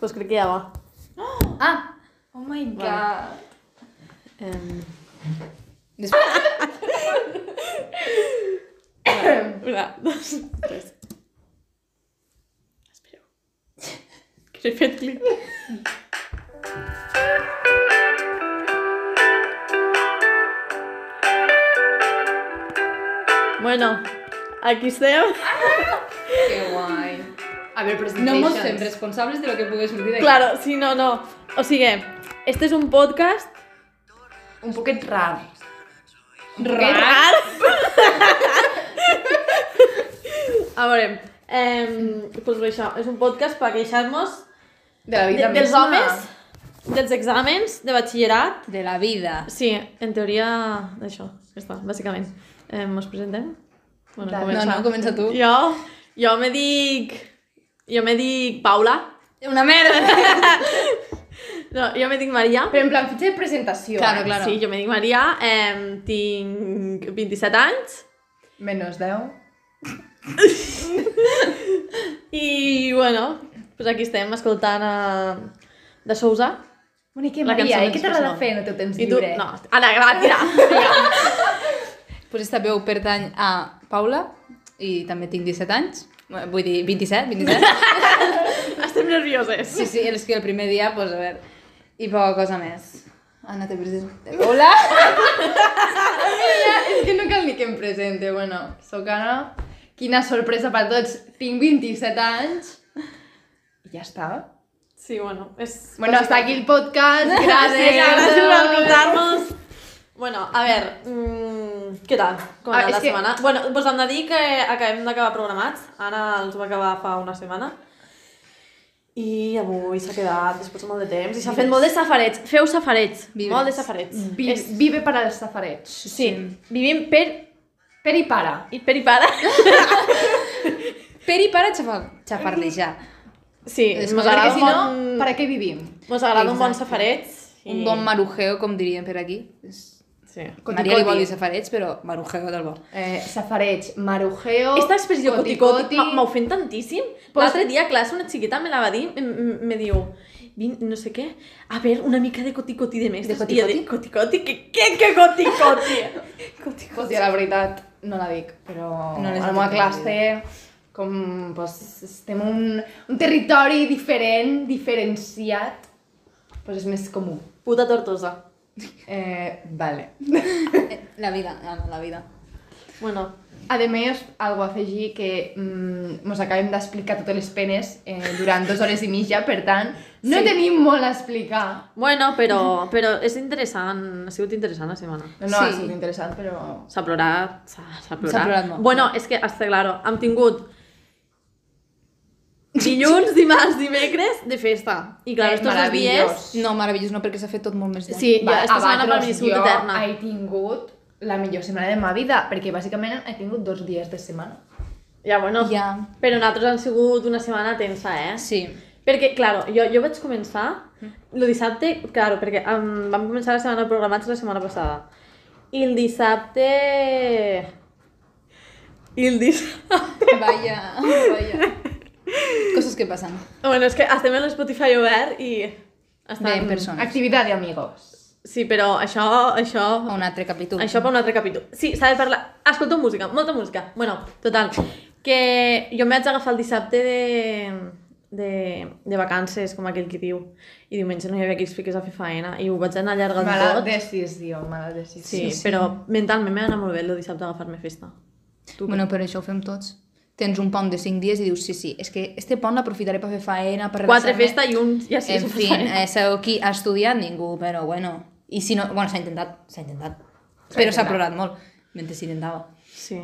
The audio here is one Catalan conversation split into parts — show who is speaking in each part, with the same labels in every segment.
Speaker 1: Pues crec que ja va.
Speaker 2: Ah! Oh my god.
Speaker 1: Em,
Speaker 2: Una, dos, tres. Espereu. Que he fet clic.
Speaker 1: Bueno, aquí estem.
Speaker 3: Que guai.
Speaker 2: A veure,
Speaker 3: No
Speaker 2: presentations.
Speaker 3: mos fem responsables de lo que pugui sortir d'aquí.
Speaker 1: Claro, sí, no, no. O sigui, este és un podcast
Speaker 2: Un poquet rar.
Speaker 3: Rar.
Speaker 1: A veure, eh, pues això, és un podcast per queixar-nos
Speaker 2: De la
Speaker 1: de,
Speaker 2: vida
Speaker 1: dels
Speaker 2: misma.
Speaker 1: homes, dels exàmens de batxillerat.
Speaker 3: De la vida.
Speaker 1: Sí, en teoria, això, ja està, bàsicament. Eh, mos presentem? Bueno,
Speaker 2: Dale.
Speaker 3: No, no, comença tu.
Speaker 1: Jo, jo me dic... Jo me dic Paula.
Speaker 2: Una merda.
Speaker 1: No, jo me dic Maria.
Speaker 2: Però en plan, fitxa de presentació.
Speaker 3: Claro,
Speaker 2: eh?
Speaker 3: claro.
Speaker 1: Sí, jo me dic Maria, eh, tinc 27 anys
Speaker 2: Menos 10.
Speaker 1: i, bueno, pues aquí estem escoltant a... de Sousa.
Speaker 2: Bonique,
Speaker 1: La
Speaker 2: Maria,
Speaker 1: cançó
Speaker 2: eh? Què
Speaker 1: més
Speaker 2: t'agrada
Speaker 1: personal.
Speaker 2: fer en el teu temps
Speaker 1: I tu,
Speaker 2: lliure?
Speaker 1: no, ara, va, tira.
Speaker 3: Pues esta veu pertany a Paula i també tinc 17 anys. Bueno, Vull dir, 27, 27.
Speaker 1: estem nervioses.
Speaker 3: Sí, sí, és que el primer dia, pues a veure. I poca cosa més. Anna, te presenta. Hola!
Speaker 2: Ja, és que no cal ni que em presente, bueno, sóc Anna. Quina sorpresa per tots, tinc 27 anys. I ja està.
Speaker 1: Sí, bueno, és...
Speaker 2: Bueno, hasta aquí el podcast, gràcies.
Speaker 1: Gràcies, gràcies per escoltar-nos. Bueno, a veure, mm, què tal? Com ha
Speaker 2: Ah,
Speaker 1: anat
Speaker 2: és
Speaker 1: la
Speaker 2: que-
Speaker 1: setmana? Bueno, doncs hem de dir que acabem d'acabar programats. Ara els va acabar fa una setmana. I avui s'ha quedat després de molt de temps i s'ha fet molt de safarets. Feu safarets,
Speaker 3: Vives.
Speaker 1: molt de safarets.
Speaker 2: Vi,
Speaker 1: És-
Speaker 2: vive per als safarets.
Speaker 1: Sí, vivim per,
Speaker 2: Per i para.
Speaker 1: i per i para.
Speaker 3: Peri, para, xafar- xafardejar.
Speaker 1: Sí,
Speaker 3: És
Speaker 1: mos
Speaker 3: com-
Speaker 1: agrada un
Speaker 2: Perquè si no,
Speaker 1: bon...
Speaker 2: per a què vivim?
Speaker 1: Mos agrada un bon
Speaker 3: Exacte.
Speaker 1: safareig. i-
Speaker 3: Un bon marujeo, com dirien per aquí. És...
Speaker 1: Sí.
Speaker 2: Coti,
Speaker 3: Maria li
Speaker 2: coti.
Speaker 3: vol dir safareig, però marujeo del bo.
Speaker 2: Eh, safareig, marujeo,
Speaker 1: Esta expressió
Speaker 2: coticoti.
Speaker 1: coticoti m'ha- m'ofèn tantíssim.
Speaker 2: Pues-
Speaker 1: L'altre dia a classe una xiqueta me la va dir, em- em- me diu, vin, no sé què, a veure, una mica de coticoti de mestres.
Speaker 3: De
Speaker 1: I jo dic, coticoti? Què, què, què coticoti?
Speaker 2: Pues
Speaker 1: coticoti.
Speaker 2: jo la veritat no la dic, però
Speaker 3: No
Speaker 2: no
Speaker 3: l'he
Speaker 2: a la
Speaker 3: sentit
Speaker 2: meva
Speaker 3: mai
Speaker 2: classe
Speaker 1: eh.
Speaker 2: com pues, estem en un, un territori diferent, diferenciat, pues és més comú.
Speaker 1: Puta tortosa.
Speaker 2: Eh, vale.
Speaker 3: Eh, La vida, Anna, la vida.
Speaker 1: Bueno,
Speaker 2: A més, algo a afegir que mm, mos acabem d'explicar totes les penes eh, durant dues hores i mitja, per tant, no
Speaker 1: Sí.
Speaker 2: tenim molt a explicar.
Speaker 1: bueno, però, però és interessant, ha sigut interessant la setmana.
Speaker 2: No, no, sí. ha
Speaker 3: Sí.
Speaker 2: sigut interessant, però...
Speaker 1: S'ha plorat, s'ha s'ha plorat.
Speaker 3: S'ha plorat molt.
Speaker 1: Bueno, és que, està claro, hem tingut dilluns, dimarts, dimecres de festa. I clar,
Speaker 2: Eh,
Speaker 1: estos dos dies...
Speaker 2: meravellós.
Speaker 3: No, meravellós no, perquè s'ha fet tot molt més llarg.
Speaker 1: Sí, jo,
Speaker 2: Va,
Speaker 1: esta
Speaker 2: a
Speaker 1: setmana per mi ha
Speaker 2: vosaltres
Speaker 1: sigut
Speaker 2: jo
Speaker 1: eterna.
Speaker 2: he tingut la millor setmana de ma vida, perquè bàsicament he tingut dos dies de setmana.
Speaker 1: Ja, bueno,
Speaker 3: Ja.
Speaker 1: però nosaltres han sigut una setmana tensa, eh?
Speaker 3: Sí.
Speaker 1: Perquè, claro, jo, jo vaig començar
Speaker 3: Mm.
Speaker 1: el dissabte, claro, perquè um, vam començar la setmana programats la setmana passada. I el dissabte... I el dissabte...
Speaker 3: Vaya, vaya. Coses que passen.
Speaker 1: bueno, és que estem en l'Spotify obert i...
Speaker 3: Bé, en persona.
Speaker 2: Activitat de amigos.
Speaker 1: Sí, però això... això...
Speaker 3: Un altre capítol.
Speaker 1: Això per un altre capítol. Sí, s'ha de parlar... Escolta música, molta música. Bueno, total, que jo m'haig d'agafar el dissabte de, de, de vacances, com aquell qui diu. I diumenge no hi havia qui es fiqués a fer faena. I ho vaig anar allargant
Speaker 2: Mala
Speaker 3: eh?
Speaker 1: tot.
Speaker 2: decisió, mala decisió.
Speaker 1: Sí, sí, però mentalment m'ha anat molt bé el dissabte a agafar-me festa. Tu,
Speaker 3: Bueno, però això ho fem tots. Tens un pont de 5 dies i dius, sí, sí, és que este pont l'aprofitaré per fer faena, per
Speaker 1: Quatre
Speaker 3: relaxar-me".
Speaker 1: festa i un... Ja sí,
Speaker 3: En fi, eh, sabeu qui ha estudiat? Ningú, però bueno. I si no... Bueno, s'ha intentat, s'ha intentat. però s'ha
Speaker 2: intentat.
Speaker 3: plorat molt, mentre s'intentava.
Speaker 1: Sí.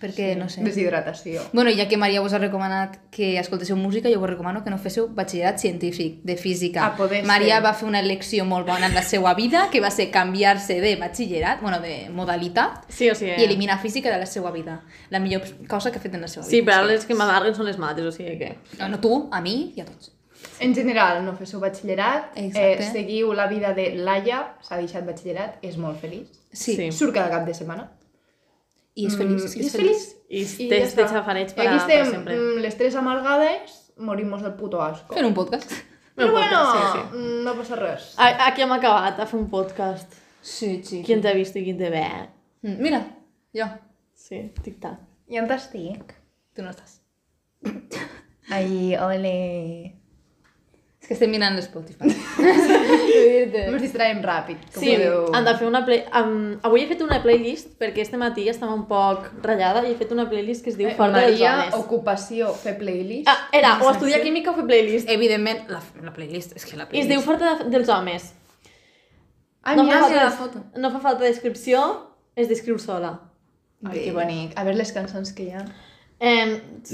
Speaker 3: Perquè, no sé...
Speaker 2: Deshidratació.
Speaker 3: Bueno, ja que Maria us ha recomanat que escoltéssiu música, jo vos recomano que no féssiu batxillerat científic de física.
Speaker 2: A Ah, poder ser.
Speaker 3: Maria va fer una elecció molt bona en la seva vida, que va ser canviar-se de batxillerat, bueno, de modalitat,
Speaker 1: Sí, o sigui...
Speaker 3: i eliminar física de la seva vida. La millor cosa que ha fet en la seva
Speaker 1: Sí,
Speaker 3: vida.
Speaker 1: però ara les que m'amarguen són les mates, o sigui que...
Speaker 3: No, no tu, a mi i a tots.
Speaker 2: En general, no féssiu batxillerat, eh,
Speaker 3: Exacte.
Speaker 2: seguiu la vida de Laia, s'ha deixat batxillerat, és molt feliç.
Speaker 3: Sí.
Speaker 1: Sí.
Speaker 3: sí.
Speaker 2: Surt cada cap de setmana.
Speaker 3: I és feliç.
Speaker 2: Mm, I és feliç.
Speaker 1: I
Speaker 2: ja
Speaker 1: tens de
Speaker 2: està.
Speaker 1: xafarets
Speaker 2: I
Speaker 1: per,
Speaker 2: aquí
Speaker 1: a- per
Speaker 2: estem
Speaker 1: sempre.
Speaker 2: mm, les tres amalgades, morim-nos del puto asco.
Speaker 3: Fent un podcast.
Speaker 2: Però
Speaker 1: Un podcast,
Speaker 2: bueno,
Speaker 1: sí, Ah.
Speaker 2: sí, sí. no passa res.
Speaker 1: A- Aquí hem acabat a fer un podcast.
Speaker 3: Sí, sí.
Speaker 1: Qui t'ha vist i qui te ve.
Speaker 3: Mm, Mira, jo.
Speaker 1: Sí, tic-tac.
Speaker 2: I on
Speaker 1: Eh.
Speaker 2: t'estic?
Speaker 3: Tu no estàs.
Speaker 2: Ai, ole.
Speaker 3: És que estem mirant l'Spotify. Dir-te.
Speaker 2: Ens distraem ràpid. Com
Speaker 1: Sí,
Speaker 2: podeu...
Speaker 1: hem de fer una play... Um, avui he fet una playlist perquè este matí estava un poc ratllada i he fet una playlist que es diu
Speaker 2: Eh,
Speaker 1: eh, Fora dels
Speaker 2: Maria,
Speaker 1: Homes.
Speaker 2: ocupació, fer playlist.
Speaker 1: Ah, era, o estudiar química o fer
Speaker 2: Eh,
Speaker 1: playlist.
Speaker 3: Evidentment, la, la playlist. És que
Speaker 1: I
Speaker 3: la
Speaker 1: es
Speaker 3: playlist...
Speaker 1: diu Fora de- dels Homes.
Speaker 2: ah
Speaker 1: no
Speaker 2: mira,
Speaker 1: fa
Speaker 2: sí,
Speaker 1: falta,
Speaker 3: la foto.
Speaker 1: no fa falta descripció, es descriu sola.
Speaker 2: Ai, que bonic. A veure les cançons que hi ha.
Speaker 1: Um,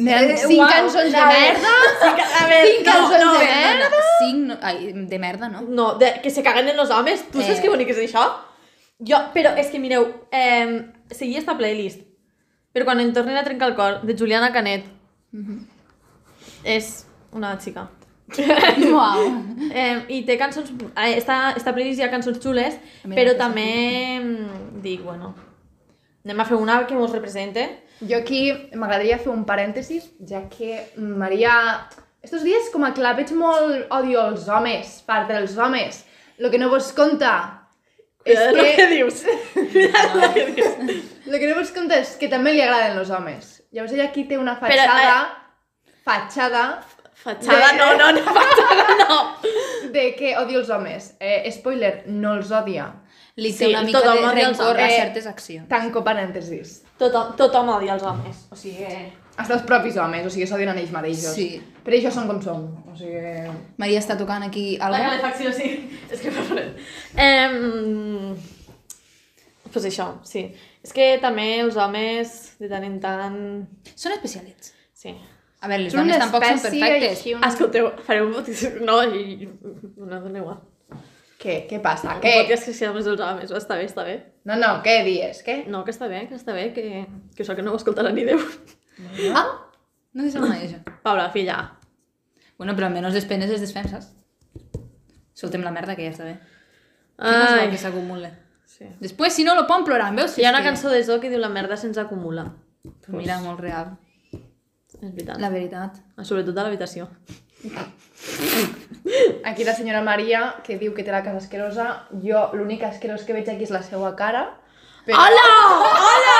Speaker 2: N'hi ha cinc cançons de merda?
Speaker 1: Cinc, a veure,
Speaker 2: Cinc cançons
Speaker 1: no, no,
Speaker 2: de
Speaker 1: bé.
Speaker 2: merda?
Speaker 3: Perdona, cinc... No, ai, de merda, no?
Speaker 1: No, de, que se caguen en els homes. Tu saps
Speaker 3: Eh.
Speaker 1: que bonic és això? Jo, però és que mireu, eh, seguia esta playlist. Però quan em tornen a trencar el cor, de Juliana Canet. Mhm. És una xica.
Speaker 3: Uau.
Speaker 1: Eh, I té cançons... Eh, esta, esta playlist hi ha cançons xules,
Speaker 3: A mi
Speaker 1: però
Speaker 3: m'ha passat
Speaker 1: també mm, dic, bueno, anem a fer una que mos represente.
Speaker 2: Jo aquí m'agradaria fer un parèntesis, ja que mm, Maria... Estos dies com a que la veig molt odio als homes, part dels homes. Lo que no vos conta és
Speaker 1: Cuidado lo que
Speaker 2: que...
Speaker 1: dius. Cuidado lo que dius.
Speaker 2: Lo que no vos conta és que també li agraden els homes. Llavors ella aquí té una
Speaker 1: Però,
Speaker 2: fatxada... Fatxada
Speaker 1: Fatxada,
Speaker 2: De-
Speaker 1: no, no, no, fatxada, no.
Speaker 2: de que odio els homes. Eh, spoiler, no els odia.
Speaker 3: Li
Speaker 1: Sí,
Speaker 3: té una mica
Speaker 1: tot
Speaker 3: de
Speaker 1: home odia els
Speaker 3: rencor a
Speaker 2: homes.
Speaker 3: certes accions.
Speaker 2: Tanco parèntesis.
Speaker 1: Tothom, tothom odia els homes. O sigui, eh,
Speaker 2: Els teus propis homes, o sigui, s'odien a ells mateixos.
Speaker 3: Sí.
Speaker 2: Per això són com són. O sigui...
Speaker 3: Maria està tocant aquí
Speaker 1: La
Speaker 3: alguna
Speaker 1: calefacció, sí. És que fa fred. Em... pues això, sí. És que també els homes, de tant en tant...
Speaker 3: Són especialets.
Speaker 1: Sí. Ah,
Speaker 3: A veure, les
Speaker 2: Són
Speaker 3: dones
Speaker 2: una
Speaker 3: tampoc són
Speaker 2: espècie
Speaker 3: perfectes.
Speaker 2: així, una-
Speaker 1: Escolteu, fareu un podcast... No, i... No, dona igual.
Speaker 2: Què? Què passa?
Speaker 1: Un
Speaker 2: Què?
Speaker 1: podcast que sigui més els homes. Va, Està bé, està bé.
Speaker 2: No, no, què dies? Què?
Speaker 1: No, que està bé, que està bé, que, que això que no ho escoltarà ni Déu.
Speaker 3: Ah, no sé si mai això.
Speaker 1: Paula, filla.
Speaker 3: Bueno, però almenys les penes les desfem, saps? Soltem la merda que ja està bé. Que no és bo
Speaker 1: Ai.
Speaker 3: que s'acumule.
Speaker 1: Sí.
Speaker 3: Després, si no, lo pon plorant, veus? Si
Speaker 1: Hi ha
Speaker 3: és
Speaker 1: una
Speaker 3: que-
Speaker 1: cançó de Zo que diu la merda se'ns acumula.
Speaker 3: Pues Mira, molt real.
Speaker 1: És veritat. Ah,
Speaker 3: La veritat.
Speaker 1: Sobretot a l'habitació.
Speaker 2: Aquí la senyora Maria, que diu que té la casa asquerosa, jo l'únic asquerós que veig aquí és la seva cara. Però...
Speaker 1: Hola! Hola!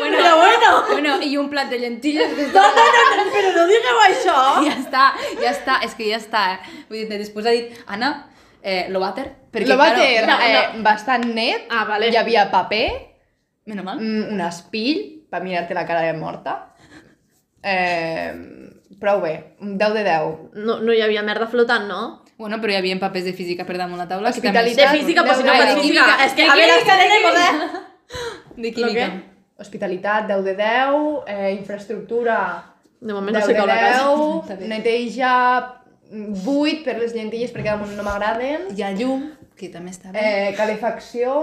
Speaker 3: Bueno,
Speaker 1: Però bueno!
Speaker 3: Bueno, i un plat de llentilles que
Speaker 1: No,
Speaker 3: està...
Speaker 1: no, no, no, però no digueu això!
Speaker 3: Ja està, ja està, és que ja està, eh? Vull dir, després ha dit, Anna, eh, lo vàter, perquè,
Speaker 2: Lo va
Speaker 3: claro,
Speaker 2: ter
Speaker 1: no, no.
Speaker 2: eh, bastant net,
Speaker 1: Ah, vale.
Speaker 2: hi havia paper,
Speaker 3: Menys mal.
Speaker 2: mm, un espill, per mirar-te la cara de morta. Eh, prou bé, un 10 de 10.
Speaker 1: No, no hi havia merda flotant, no?
Speaker 3: Bueno, però hi havia papers de física per damunt la taula.
Speaker 2: Hospitalitat.
Speaker 1: De física, però si no
Speaker 2: Ai,
Speaker 1: fas
Speaker 2: de
Speaker 1: física.
Speaker 3: química,
Speaker 1: És que,
Speaker 3: de
Speaker 1: a veure,
Speaker 3: química,
Speaker 1: que
Speaker 3: de
Speaker 1: anem a poder...
Speaker 3: Que també... De química.
Speaker 1: Lo
Speaker 2: Hospitalitat, 10 de 10, eh, infraestructura,
Speaker 1: De moment
Speaker 2: 10
Speaker 1: no sé
Speaker 2: de
Speaker 1: com la casa.
Speaker 2: 10,
Speaker 3: Està bé.
Speaker 2: neteja, 8 per les llentilles perquè damunt no m'agraden,
Speaker 3: Hi ha llum, que també està bé.
Speaker 2: eh, calefacció,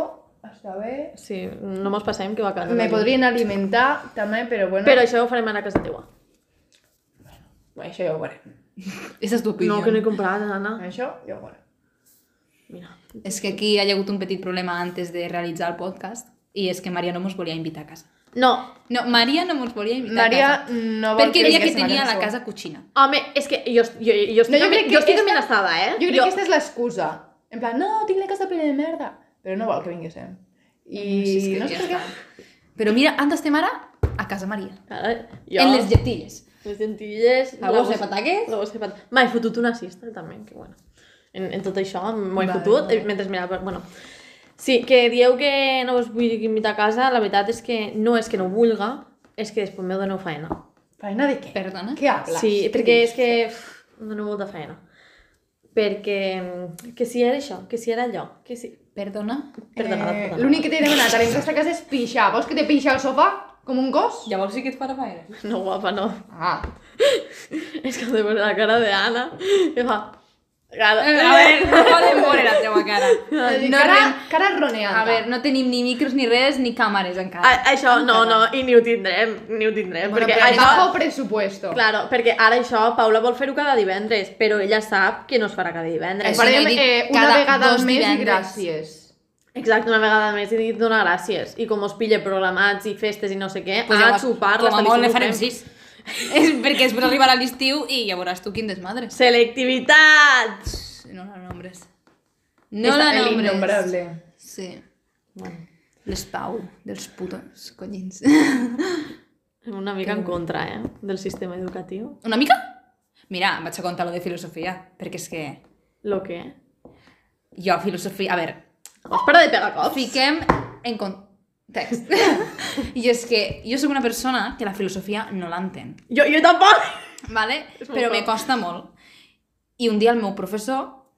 Speaker 2: està bé,
Speaker 1: Sí, no mos passem, que va quedar.
Speaker 2: Me podrien alimentar també, però bueno...
Speaker 1: Però això ho farem ara a casa teua.
Speaker 2: Bé, això ja ho veurem.
Speaker 3: Esa és
Speaker 1: No,
Speaker 3: l'opinió.
Speaker 1: que no he comprat, Anna.
Speaker 2: Això ja ho veurem.
Speaker 1: Mira.
Speaker 3: És que aquí hi ha hagut un petit problema antes de realitzar el podcast i és que Maria no mos volia invitar a casa.
Speaker 1: No,
Speaker 3: No, Maria no mos volia invitar
Speaker 2: Maria
Speaker 3: a casa.
Speaker 2: no vol
Speaker 3: perquè
Speaker 2: que
Speaker 3: deia que
Speaker 2: vingués a
Speaker 3: tenia la
Speaker 2: la cançó.
Speaker 3: casa cotxina.
Speaker 1: home, és que jo, jo, jo estic,
Speaker 2: No, jo crec que
Speaker 1: jo estic
Speaker 2: aquesta-
Speaker 1: amenaçada, eh?
Speaker 2: Jo crec que aquesta és l'excusa. En plan, no, tinc la casa plena de merda. Però no vol que vinguéssim. I
Speaker 3: Sí, és que
Speaker 2: no sé
Speaker 3: ja
Speaker 2: per què.
Speaker 3: està. Però mira, han d'estem ara a casa Maria.
Speaker 1: Ara,
Speaker 3: Jo.
Speaker 1: jo...
Speaker 3: En les lletilles.
Speaker 1: Les lentilles...
Speaker 3: La bossa de pataques.
Speaker 1: La bossa de pataques. M'he fotut una cista, també, que bueno. En, en tot això m'ho he
Speaker 3: Vale,
Speaker 1: fotut,
Speaker 3: vale.
Speaker 1: eh, mentre mirava... Bueno, sí, que dieu que no us vull invitar a casa, la veritat és que no és que no vulga, és que després m'ho doneu faena.
Speaker 2: Faena de què?
Speaker 3: Perdona?
Speaker 2: Què hables?
Speaker 1: Sí,
Speaker 2: Què
Speaker 1: perquè
Speaker 2: dius?
Speaker 1: és que pff, em doneu molta faena. Perquè... mm, Que si era això, que si era allò, que si...
Speaker 3: Perdona?
Speaker 1: Perdona,
Speaker 2: Eh,
Speaker 1: perdona.
Speaker 2: L'únic que t'he demanat a l'entresta a casa és pixar. Vols que te pixi al sofà? Com un gos?
Speaker 3: Llavors sí que et farà faena.
Speaker 1: No, guapa, no.
Speaker 2: Ah.
Speaker 1: És que de veure la cara de Anna, que fa... Cara...
Speaker 3: A veure, no podem veure la teva cara.
Speaker 2: No,
Speaker 3: Eh, No,
Speaker 2: cara,
Speaker 3: rem...
Speaker 2: cara roneada.
Speaker 3: A veure, no tenim ni micros ni res, ni càmeres encara.
Speaker 1: A, això, no, no, i ni ho tindrem, ni ho tindrem,
Speaker 2: Bueno,
Speaker 1: perquè
Speaker 2: però
Speaker 1: això...
Speaker 2: bajo presupuesto.
Speaker 1: Claro, perquè ara això, Paula vol fer-ho cada divendres, però ella sap que no es farà cada divendres.
Speaker 3: Això Exacte. no
Speaker 2: Farem
Speaker 3: he dit
Speaker 2: eh, una
Speaker 3: cada
Speaker 2: vegada
Speaker 3: dos
Speaker 2: al mes i
Speaker 3: divendres.
Speaker 2: gràcies.
Speaker 1: Exacte, una vegada més he dit donar gràcies. I com us pilla programats i festes i no sé què,
Speaker 3: Pues
Speaker 1: a
Speaker 3: llavors,
Speaker 1: xupar
Speaker 3: com a
Speaker 1: l'establisc
Speaker 3: molt ne
Speaker 1: que
Speaker 3: farem
Speaker 1: fem.
Speaker 3: sis. És perquè després arribarà l'estiu i ja veuràs tu quin desmadre.
Speaker 1: Selectivitat!
Speaker 3: No la nombres. No la
Speaker 2: el
Speaker 3: nombres.
Speaker 2: innombrable.
Speaker 3: Sí.
Speaker 1: Bueno,
Speaker 3: Les Pau, dels putos collins.
Speaker 1: una mica en contra, eh? Del sistema educatiu.
Speaker 3: Una mica? Mira, em vaig a contar lo de filosofia, perquè és que
Speaker 1: Lo que...
Speaker 3: jo filosofia... A veure,
Speaker 1: Vas parar de pegar cops?
Speaker 3: fiquem en context. I és que jo sóc una persona que la filosofia no l'entén.
Speaker 1: Jo, jo tampoc!
Speaker 3: vale?
Speaker 1: És molt
Speaker 3: però me
Speaker 1: fort.
Speaker 3: costa molt. I un dia el meu professor,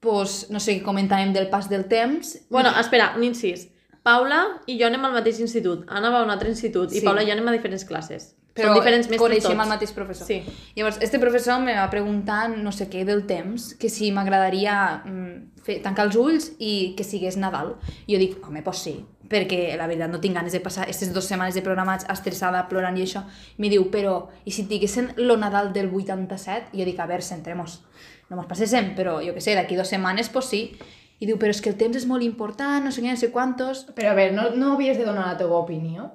Speaker 3: pues, no sé què comentàvem del pas del temps,
Speaker 1: Bueno, espera, un incís. Paula i jo anem al mateix institut. Anna va a un altre institut i
Speaker 3: Sí.
Speaker 1: Paula i jo anem a diferents classes.
Speaker 3: però
Speaker 1: Són diferents mestres
Speaker 3: coneixem
Speaker 1: tots.
Speaker 3: el mateix professor.
Speaker 1: Sí.
Speaker 3: Llavors, este professor me va preguntar no sé què del temps, que si m'agradaria mm, fer tancar els ulls i que sigués Nadal. I jo dic, home, pues sí, perquè la veritat no tinc ganes de passar aquestes dues setmanes de programats estressada, plorant i això. I diu, però, i si et diguessin lo Nadal del 87? I jo dic, a veure, centremos. No mos passéssim, però jo que sé, d'aquí dues setmanes, pues sí. I diu, però és que el temps és molt important, no sé què, no sé quantos...
Speaker 2: Però a veure, no, no havies de donar la teva opinió?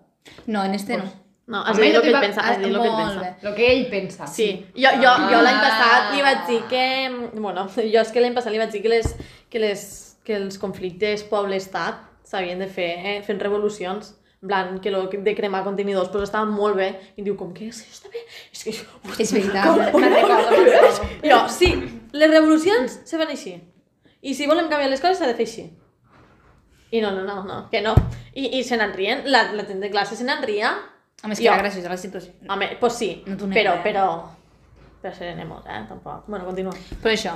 Speaker 3: No, en este no.
Speaker 1: No,
Speaker 2: A
Speaker 1: has
Speaker 2: mi
Speaker 1: dit
Speaker 2: no
Speaker 1: el que
Speaker 2: t'hi
Speaker 1: ell
Speaker 2: va-
Speaker 1: pensa, has
Speaker 3: ah,
Speaker 1: dit el que ell
Speaker 3: molt
Speaker 1: pensa.
Speaker 3: bé.
Speaker 2: Lo que ell pensa.
Speaker 1: Sí, jo, jo, jo l'any
Speaker 2: Ah.
Speaker 1: passat li vaig dir que... Bueno, jo és que l'any passat li vaig dir que, les, que, les, que els conflictes poble-estat s'havien de fer eh, fent revolucions. En plan, que lo de cremar contenidors pues, estava molt bé. I diu, com que és? Està bé? És que...
Speaker 3: És veritat,
Speaker 2: me'n recordo, me'n recordo.
Speaker 1: Jo, sí, les revolucions se fan així. I si volem canviar les coses s'ha de fer així. I no, no, no, no, que no. I, i se n'enrien, la, la gent de classe se n'enria.
Speaker 3: A més que
Speaker 1: Jo.
Speaker 3: era graciosa la situació.
Speaker 1: Home, pues sí,
Speaker 3: No t'ho nego,
Speaker 1: però,
Speaker 3: eh?
Speaker 1: però... Però serenemos, eh, tampoc. Bueno, continua.
Speaker 3: Però això,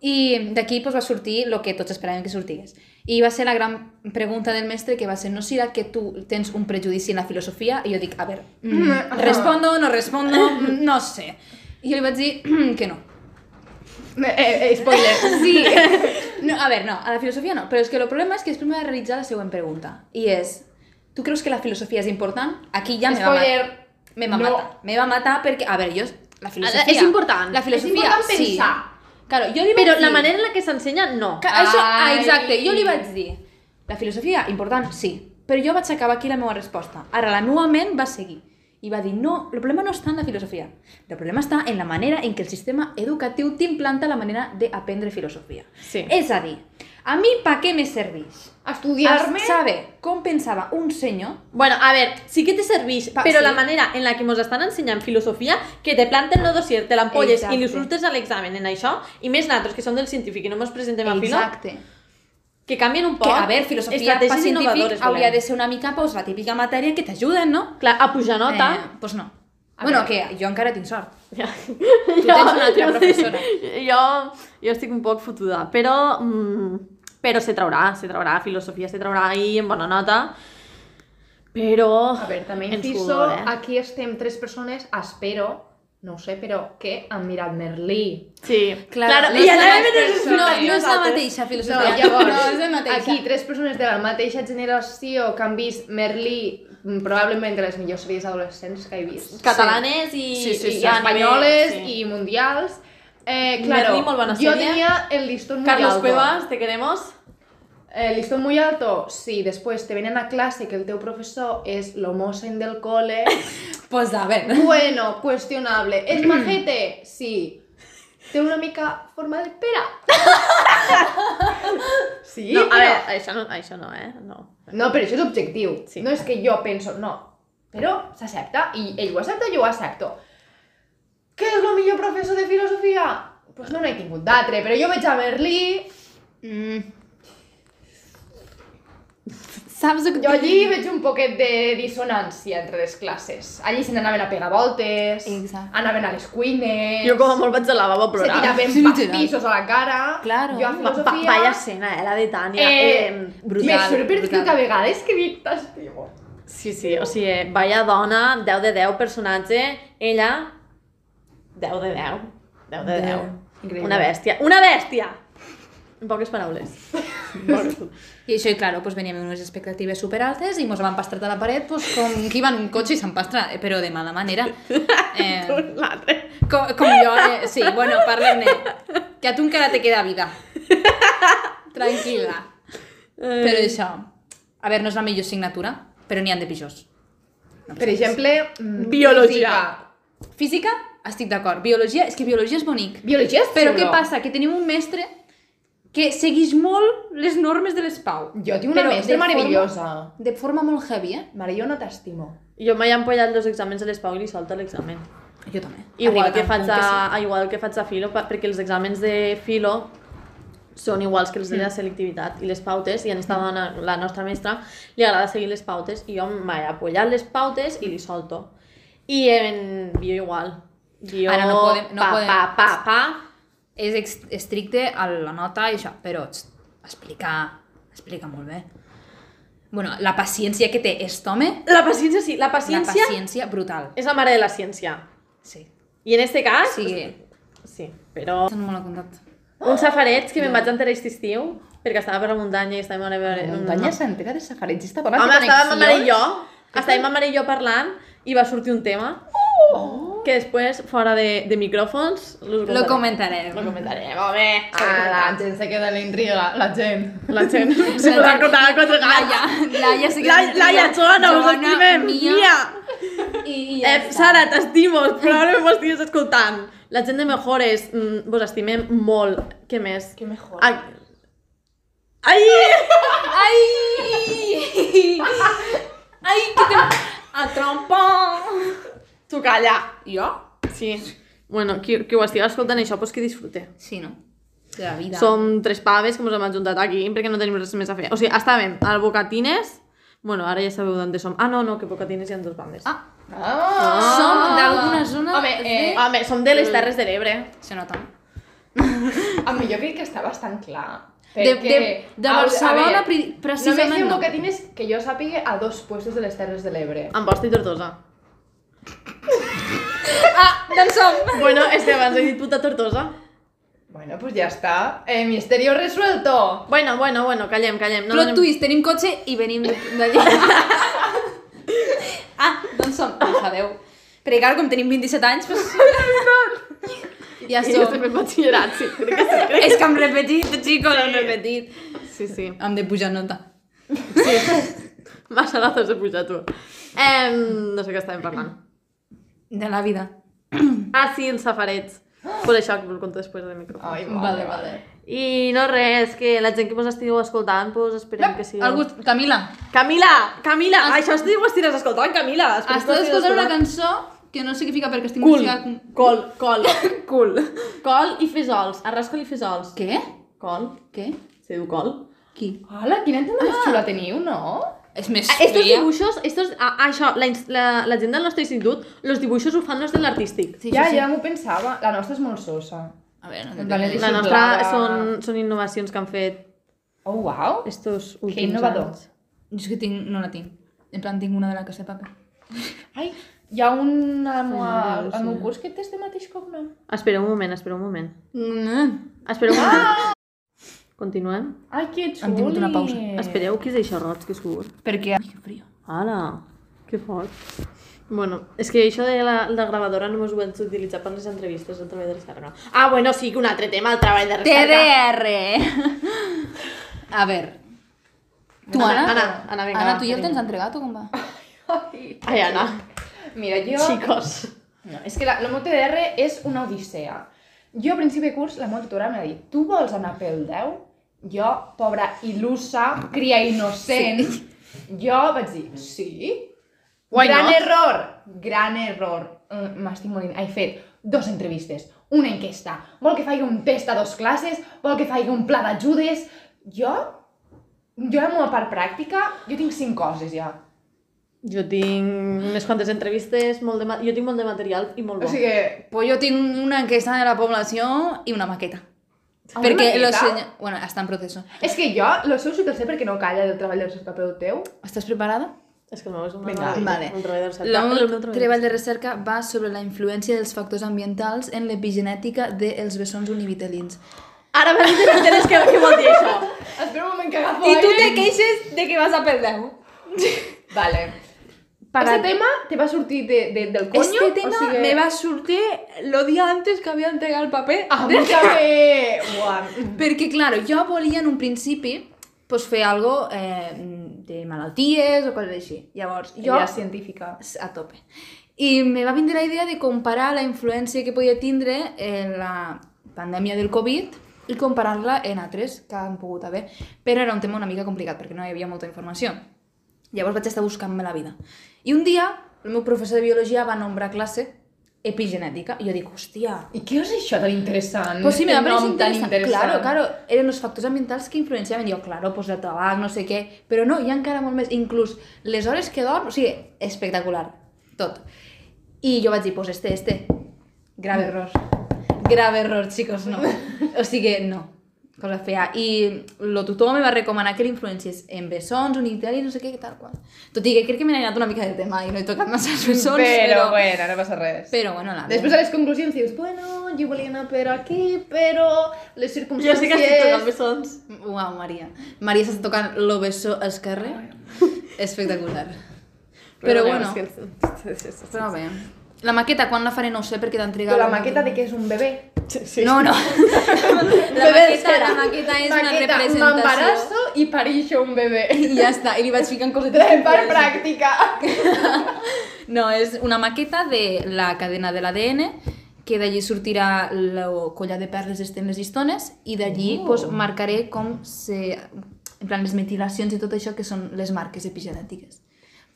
Speaker 3: i d'aquí pues, va sortir el que tots esperàvem que sortigués. I va ser la gran pregunta del mestre que va ser, no serà que tu tens un prejudici en la filosofia? I jo dic, a veure, mm,
Speaker 2: Mm,
Speaker 3: respondo, no respondo, mm, no sé. I jo li vaig dir mm, que no.
Speaker 2: Eh, eh, spoiler.
Speaker 3: Sí. No, a veure, no, a la filosofia no. Però és que el problema és que després m'ha de realitzar la següent pregunta. I és, tu creus que la filosofia és important? Aquí ja me va
Speaker 2: Spoiler.
Speaker 3: matar. Me va
Speaker 2: No.
Speaker 3: matar. Me va matar perquè, a veure, jo... La filosofia...
Speaker 1: és important.
Speaker 3: La filosofia,
Speaker 2: És important
Speaker 3: sí.
Speaker 2: pensar.
Speaker 3: Claro, jo li vaig
Speaker 1: Però la
Speaker 3: dir-
Speaker 1: manera en la que s'ensenya, no.
Speaker 3: Que això, ah,
Speaker 2: Ai.
Speaker 3: exacte, jo li vaig dir la filosofia, important, sí, però jo vaig acabar aquí la meva resposta. Ara la meva ment va seguir i va dir, no, el problema no està en la filosofia, el problema està en la manera en què el sistema educatiu t'implanta la manera d'aprendre filosofia.
Speaker 1: Sí.
Speaker 3: És a dir, a mi pa què me serveix?
Speaker 2: Estudiar-me...
Speaker 3: Saber com pensava un senyor
Speaker 1: Bueno, a ver, sí que te serveix,
Speaker 3: Pa-
Speaker 1: però
Speaker 3: sí.
Speaker 1: la manera en la que mos estan ensenyant filosofia, que te planten lo dossier, te l'ampolles i li
Speaker 3: Exacte.
Speaker 1: surtes a l'examen en això, i més nosaltres, que som del científic i no mos presentem a filo,
Speaker 3: Exacte.
Speaker 1: que canvien un poc
Speaker 3: Que, a veure, filosofia pa
Speaker 1: estratègies
Speaker 3: científic
Speaker 1: innovadores,
Speaker 3: hauria
Speaker 1: volem.
Speaker 3: de ser una mica pues, la típica matèria que t'ajuden, no?
Speaker 1: Clar, a pujar nota...
Speaker 3: Eh, pues no.
Speaker 2: A
Speaker 3: bueno,
Speaker 2: veure.
Speaker 3: que jo encara tinc sort.
Speaker 1: Ja.
Speaker 3: Tu tens una altra professora.
Speaker 1: Sí, jo, jo estic un poc fotuda, però... Mm, però se traurà, se traurà, filosofia se traurà i en bona nota, però...
Speaker 2: A veure, també
Speaker 1: en
Speaker 2: inciso,
Speaker 1: sudor, eh?
Speaker 2: aquí estem tres persones, espero, no ho sé, però que han mirat Merlí.
Speaker 1: Sí,
Speaker 3: Claro, no
Speaker 1: I
Speaker 3: és la
Speaker 1: anàvem en
Speaker 3: mateixa-
Speaker 1: els espinots
Speaker 3: no, no és la
Speaker 1: nosaltres.
Speaker 3: mateixa
Speaker 2: No,
Speaker 3: filosofia.
Speaker 2: llavors,
Speaker 3: No, és la mateixa.
Speaker 2: aquí tres persones de la mateixa generació que han vist Merlí, mm, probablement de les millors sèries adolescents que he vist.
Speaker 1: Catalanes i,
Speaker 3: Sí, sí,
Speaker 1: i,
Speaker 2: I
Speaker 1: i a
Speaker 2: espanyoles
Speaker 1: nivell-
Speaker 2: i mundials. Eh, claro,
Speaker 1: Merlí, molt bona
Speaker 2: jo
Speaker 1: sèrie.
Speaker 2: tenia el listón muy
Speaker 1: Carlos
Speaker 2: alto.
Speaker 1: Cuevas, te queremos.
Speaker 2: El listón muy alto, sí, después te vienen a clase que el teu professor és l'homosen del cole.
Speaker 3: Pues a veure.
Speaker 2: Bueno, cuestionable. ¿Es majete? Sí. ¿Tiene una mica forma de pera? sí,
Speaker 1: no, a
Speaker 2: però-
Speaker 1: veure, això no, això no, eh? No.
Speaker 2: No, però això és objectiu.
Speaker 1: Sí.
Speaker 2: No és que jo penso, no. Però s'accepta, i ell ho accepta, jo ho accepto. Què és el millor professor de filosofia? Pues no n'he tingut d'altre, però jo vaig a Berlí,
Speaker 3: Mm. Saps el que...
Speaker 2: jo allí veig un poquet de dissonància entre les classes. Allí se n'anaven a pegar voltes,
Speaker 3: Exacte.
Speaker 2: anaven a les cuines...
Speaker 3: Eh,
Speaker 1: Jo com a molt vaig al lavabo a
Speaker 2: se
Speaker 1: plorar.
Speaker 2: tiraven
Speaker 3: Sí, literal.
Speaker 2: pastissos a la cara.
Speaker 3: Claro.
Speaker 2: Jo a
Speaker 1: Va, va,
Speaker 2: filosofia...
Speaker 1: vaya escena, eh? La de Tània.
Speaker 2: Eh,
Speaker 3: brutal,
Speaker 2: Me surt per
Speaker 3: brutal.
Speaker 2: escriure a vegades que dic t'estimo.
Speaker 1: Sí, sí, o sigui, vaya dona, 10 de 10 personatge, ella... 10 de 10. 10 de 10.
Speaker 2: Increïble.
Speaker 1: Una bèstia. Una bèstia! En poques paraules. En poques paraules.
Speaker 3: I això, i claro, pues veníem amb unes expectatives superaltes i mos van pastrat a la paret pues, com qui va en un cotxe i s'empastra, eh, però de mala manera. Eh,
Speaker 1: L'altre.
Speaker 3: com, com jo, eh? sí, bueno, parlem-ne. Que a tu encara te queda vida. Tranquil·la. Però
Speaker 1: Eh,
Speaker 3: això, a veure, no és la millor signatura, però n'hi han de pitjors.
Speaker 2: Per exemple, mm,
Speaker 1: Biologia.
Speaker 2: física.
Speaker 3: Física, estic d'acord. Biologia, és que biologia és bonic.
Speaker 2: Biologia és
Speaker 3: Però què
Speaker 2: xulo.
Speaker 3: passa? Que tenim un mestre que segueix molt les normes de l'espau.
Speaker 2: Jo tinc una
Speaker 3: Però
Speaker 2: mestra
Speaker 3: de
Speaker 2: meravellosa.
Speaker 3: Forma, de forma molt heavy, eh?
Speaker 2: Mare, jo no t'estimo.
Speaker 1: Jo mai he empollat els exàmens a l'Espau i li solta l'examen.
Speaker 3: Jo també.
Speaker 1: Igual
Speaker 3: Arriba
Speaker 1: que,
Speaker 3: tant
Speaker 1: faig
Speaker 3: punt
Speaker 1: a,
Speaker 3: sí.
Speaker 1: a, igual que faig a filo, per- perquè els exàmens de filo són iguals que els
Speaker 3: Mm.
Speaker 1: de la selectivitat i les pautes, i a esta dona, la nostra mestra, li agrada seguir les pautes, i jo m'he apoyat les pautes i li solto. I en bio igual. Bio,
Speaker 3: Ara no podem- no
Speaker 1: pa,
Speaker 3: podem.
Speaker 1: pa, pa, pa,
Speaker 3: És ex- estricte a la nota i això, però txt, explica, explica molt bé. Bueno, la paciència que té est home,
Speaker 1: La paciència, sí, la
Speaker 3: la
Speaker 1: paciència,
Speaker 3: paciència brutal.
Speaker 1: és la mare de la ciència.
Speaker 3: Sí.
Speaker 1: I en este
Speaker 3: O
Speaker 1: cas,
Speaker 3: sigui,
Speaker 1: sí però...
Speaker 3: estan molt a comptat.
Speaker 1: Un safareig que me'n vaig enterar aquest estiu, perquè estava per la muntanya i estava amb la
Speaker 2: La
Speaker 3: Mm.
Speaker 1: meva...
Speaker 2: muntanya s'entera de safarets. Esta dona
Speaker 1: Home,
Speaker 2: té
Speaker 1: estava ma mare i jo,
Speaker 2: connexions.
Speaker 1: estàvem ma mare i jo parlant i va sortir un tema que després, fora de, de micròfons, us
Speaker 3: Lo
Speaker 1: contaré.
Speaker 3: comentarem.
Speaker 1: Lo comentarem, home.
Speaker 2: Ah, la gent se queda a la intriga, la gent.
Speaker 1: La gent se podrà contar quatre
Speaker 3: Laia,
Speaker 1: gats.
Speaker 3: Laia sí que...
Speaker 1: La, Laia, Joana, us estimem.
Speaker 3: Mia,
Speaker 1: Mia.
Speaker 3: I, i ja
Speaker 1: Eh,
Speaker 3: està.
Speaker 1: Sara, t'estimo, però ara m'ho estiguis escoltant. La gent de Mejores, mm, vos estimem molt. Què més?
Speaker 2: Que mejor.
Speaker 1: Ai! Ai!
Speaker 3: Ai! Ai, que te... A trompa!
Speaker 1: Tu calla!
Speaker 3: Jo?
Speaker 1: Sí. Bueno, qui, qui ho estiga escoltant això, pues que disfrute.
Speaker 3: Sí, no? De la vida.
Speaker 1: Som tres paves que ens hem ajuntat aquí perquè no tenim res més a fer. O sigui, estàvem al Bocatines... Bueno, ara ja sabeu d'on som. Ah, no, no, que Bocatines hi ha dos bandes.
Speaker 3: Ah,
Speaker 2: Ah.
Speaker 3: som d'alguna zona...
Speaker 2: Home, eh,
Speaker 3: de...
Speaker 1: ah, Home, som de les Terres de l'Ebre.
Speaker 3: Se nota.
Speaker 2: Home, jo crec que està bastant clar.
Speaker 3: De-
Speaker 2: Perquè,
Speaker 3: de- de
Speaker 2: a- a
Speaker 3: Barcelona
Speaker 2: veure,
Speaker 3: pri- precisament
Speaker 2: Només hi ha
Speaker 3: no.
Speaker 2: bocatines que jo sàpiga a dos puestos de les Terres de l'Ebre.
Speaker 1: Amposta i Tortosa.
Speaker 3: Ah, d'on som?
Speaker 1: Bueno, és que abans he dit puta Tortosa.
Speaker 2: Bueno, pues ja està. Eh, misterio resuelto.
Speaker 1: Bueno, bueno, bueno, callem, callem.
Speaker 3: No, Plot
Speaker 1: donem-
Speaker 3: twist, tenim cotxe i venim de- d'allà. ah, d'on som? Doncs adeu. Perquè clar, com tenim 27 anys, pues... ja
Speaker 1: Sí, jo
Speaker 3: som.
Speaker 1: sempre batxillerat, sí. Crec que sí, crec
Speaker 3: És que hem repetit, xicos, hem repetit.
Speaker 1: que sí. sí.
Speaker 3: Hem de pujar nota.
Speaker 1: Massa lazos de pujar, tu. Eh, no sé què estàvem parlant.
Speaker 3: De la vida.
Speaker 1: Ah, sí, els safarets. Per això que vos conto després de micròfon.
Speaker 2: Ai,
Speaker 3: Vale,
Speaker 2: vale,
Speaker 3: vale.
Speaker 2: vale.
Speaker 1: I no res, que la gent que vos estigueu escoltant, pues esperem que sigui...
Speaker 3: Algú, Camila,
Speaker 1: Camila! Camila! Ai, això estic, ho estigues escoltant, Camila! Espero que ho
Speaker 3: estàs
Speaker 1: estigues
Speaker 3: escoltant una cançó que no sé què fica perquè estic
Speaker 1: Cul,
Speaker 3: musical-
Speaker 1: col, col, cul. Col i fesols, arròs col i fesols.
Speaker 3: Què?
Speaker 1: Col,
Speaker 3: Què?
Speaker 1: se diu col.
Speaker 3: Qui?
Speaker 2: Hola, quina
Speaker 3: Ah.
Speaker 2: entenda més xula teniu, no?
Speaker 3: És més
Speaker 1: Ah, Estos dibuixos, estos, ah, això, la, ins- la, la gent del nostre institut, los dibuixos ho fan los de l'artístic.
Speaker 3: Sí,
Speaker 2: ja,
Speaker 3: sí, sí.
Speaker 2: ja m'ho pensava. La nostra és molt sosa.
Speaker 3: A veure, no
Speaker 2: En
Speaker 3: t'he
Speaker 2: plan,
Speaker 3: dit.
Speaker 1: La nostra
Speaker 2: Xiulada.
Speaker 1: són, són innovacions que han fet
Speaker 2: Oh, wow.
Speaker 1: estos últims
Speaker 2: innovador.
Speaker 1: anys.
Speaker 3: Jo és que tinc, no la tinc. En plan, tinc una de la casa de paper.
Speaker 2: Ai, hi ha un al meu,
Speaker 1: Ai,
Speaker 2: al meu
Speaker 1: sí.
Speaker 2: curs que té este mateix cognom.
Speaker 1: Espera un moment, espera un moment.
Speaker 3: Mm.
Speaker 1: Espera un moment. Continuem?
Speaker 2: Ai, que xuli.
Speaker 3: Hem tingut una pausa.
Speaker 2: Eh.
Speaker 1: Espereu, que és això, roig, que surt?
Speaker 3: Perquè... Ai, que frio.
Speaker 1: Ala, que fort. Bueno, és que això de la, la gravadora només ho vaig utilitzar per les entrevistes del treball de recerca. Ah, bueno, sí que un altre tema, el treball de recerca.
Speaker 3: TDR! A veure... Tu,
Speaker 1: Ana,
Speaker 3: Anna?
Speaker 1: Anna, Anna, vinga,
Speaker 3: Anna,
Speaker 1: va,
Speaker 3: tu ja el
Speaker 1: vinga.
Speaker 3: tens entregat o com va?
Speaker 2: Ai.
Speaker 1: Ai, Anna,
Speaker 2: Mira, jo...
Speaker 1: chicos.
Speaker 2: No, és que la, la meva TDR és una odissea. Jo a principi de curs la meva tutora m'ha dit tu vols anar pel 10? Jo, pobra il·lusa, cria innocent, jo vaig dir sí.
Speaker 1: Why
Speaker 2: gran
Speaker 1: not?
Speaker 2: error, gran error. Mm, M'estic morint. He fet dos entrevistes, una enquesta, vol que faci un test a dos classes, vol que faci un pla d'ajudes... Jo, jo la meva part pràctica, jo tinc cinc coses ja.
Speaker 1: Jo tinc unes quantes entrevistes, molt de ma... jo tinc molt de material i molt bo.
Speaker 2: O sigui,
Speaker 3: Pues jo tinc una enquesta de la població i una maqueta.
Speaker 2: a Ah, una
Speaker 3: Perquè lo
Speaker 2: maqueta-
Speaker 3: senya... Bueno, està en proceso.
Speaker 2: És que jo, lo seu sí que el sé perquè no calla del treball del cercapé del teu.
Speaker 3: Estàs preparada?
Speaker 1: És que el meu és un
Speaker 2: Vinga,
Speaker 1: meravella,
Speaker 3: vale.
Speaker 1: un treball de recerca.
Speaker 3: El
Speaker 1: El
Speaker 3: meu
Speaker 1: meu
Speaker 3: treball de recerca va sobre la influència dels factors ambientals en l'epigenètica dels bessons univitelins.
Speaker 1: Ara m'has dit que entenes què, què vol dir això.
Speaker 2: Espera un moment que agafo
Speaker 3: I tu te queixes de que vas a eh? pel 10.
Speaker 2: Vale.
Speaker 3: Para-
Speaker 2: Este tema te va sortir de, de, del coño?
Speaker 3: Este tema
Speaker 2: o sigui...
Speaker 3: me va sortir lo día antes que havia entregat el paper.
Speaker 2: Ah, mucha fe! Uah.
Speaker 3: Perquè, claro, jo volia en un principi pues, fer algo eh, de malalties o coses així. Llavors, jo
Speaker 2: Jo... Ja científica.
Speaker 3: a tope. I me va vindre la idea de comparar la influència que podia tindre en la pandèmia del Covid i comparar-la en altres que han pogut haver, però era un tema una mica complicat perquè no hi havia molta informació. Llavors vaig estar buscant-me la vida. I un dia el meu professor de biologia va nombrar classe epigenètica i jo dic, hòstia,
Speaker 2: I què és això tan interessant?
Speaker 3: Pues sí, me
Speaker 2: Aquest
Speaker 3: va parecer
Speaker 2: nom tan
Speaker 3: interessant. Claro, claro, eh, eren els factors ambientals que influenciaven. Jo, claro, pues el tabac, no sé què, però no, hi ha encara molt més. Inclús les hores que dorm, o sigui, espectacular, tot. I jo vaig dir, pues este, este,
Speaker 2: Mm.
Speaker 3: grave error. Grave error, chicos, no. O sigui, no, cosa fea. I el tutor me va recomanar que l'influències en bessons, unitaris, no sé què, tal qual. Tot i que crec que me n'he anat una mica del tema i no he tocat massa els bessons,
Speaker 2: Però,
Speaker 3: però...
Speaker 2: bueno, no passa res.
Speaker 3: Però, bueno, la...
Speaker 2: Després a les conclusions dius, bueno, jo volia anar per aquí, però les
Speaker 1: Jo
Speaker 2: circumstàncies...
Speaker 1: sí que estic tocant bessons.
Speaker 3: Uau, Maria. Maria s'està tocant lo beso esquerre. Espectacular. Però bueno, però bé. La maqueta, quan la faré? No ho sé, perquè t'han trigat...
Speaker 2: Però la
Speaker 3: un-
Speaker 2: maqueta de que és un bebè.
Speaker 1: Sí.
Speaker 3: No, no. la, maqueta, la maqueta és una representació.
Speaker 2: M'embarasso i pareixo un bebè.
Speaker 3: I ja està, i li vaig ficant cosetes.
Speaker 2: Per
Speaker 3: sorpreses.
Speaker 2: pràctica.
Speaker 3: No, és una maqueta de la cadena de l'ADN, que d'allí sortirà la colla de perles, estemes i estones, i d'allí
Speaker 2: Oh.
Speaker 3: pues, marcaré com se... En plan, les metilacions i tot això que són les marques epigenètiques.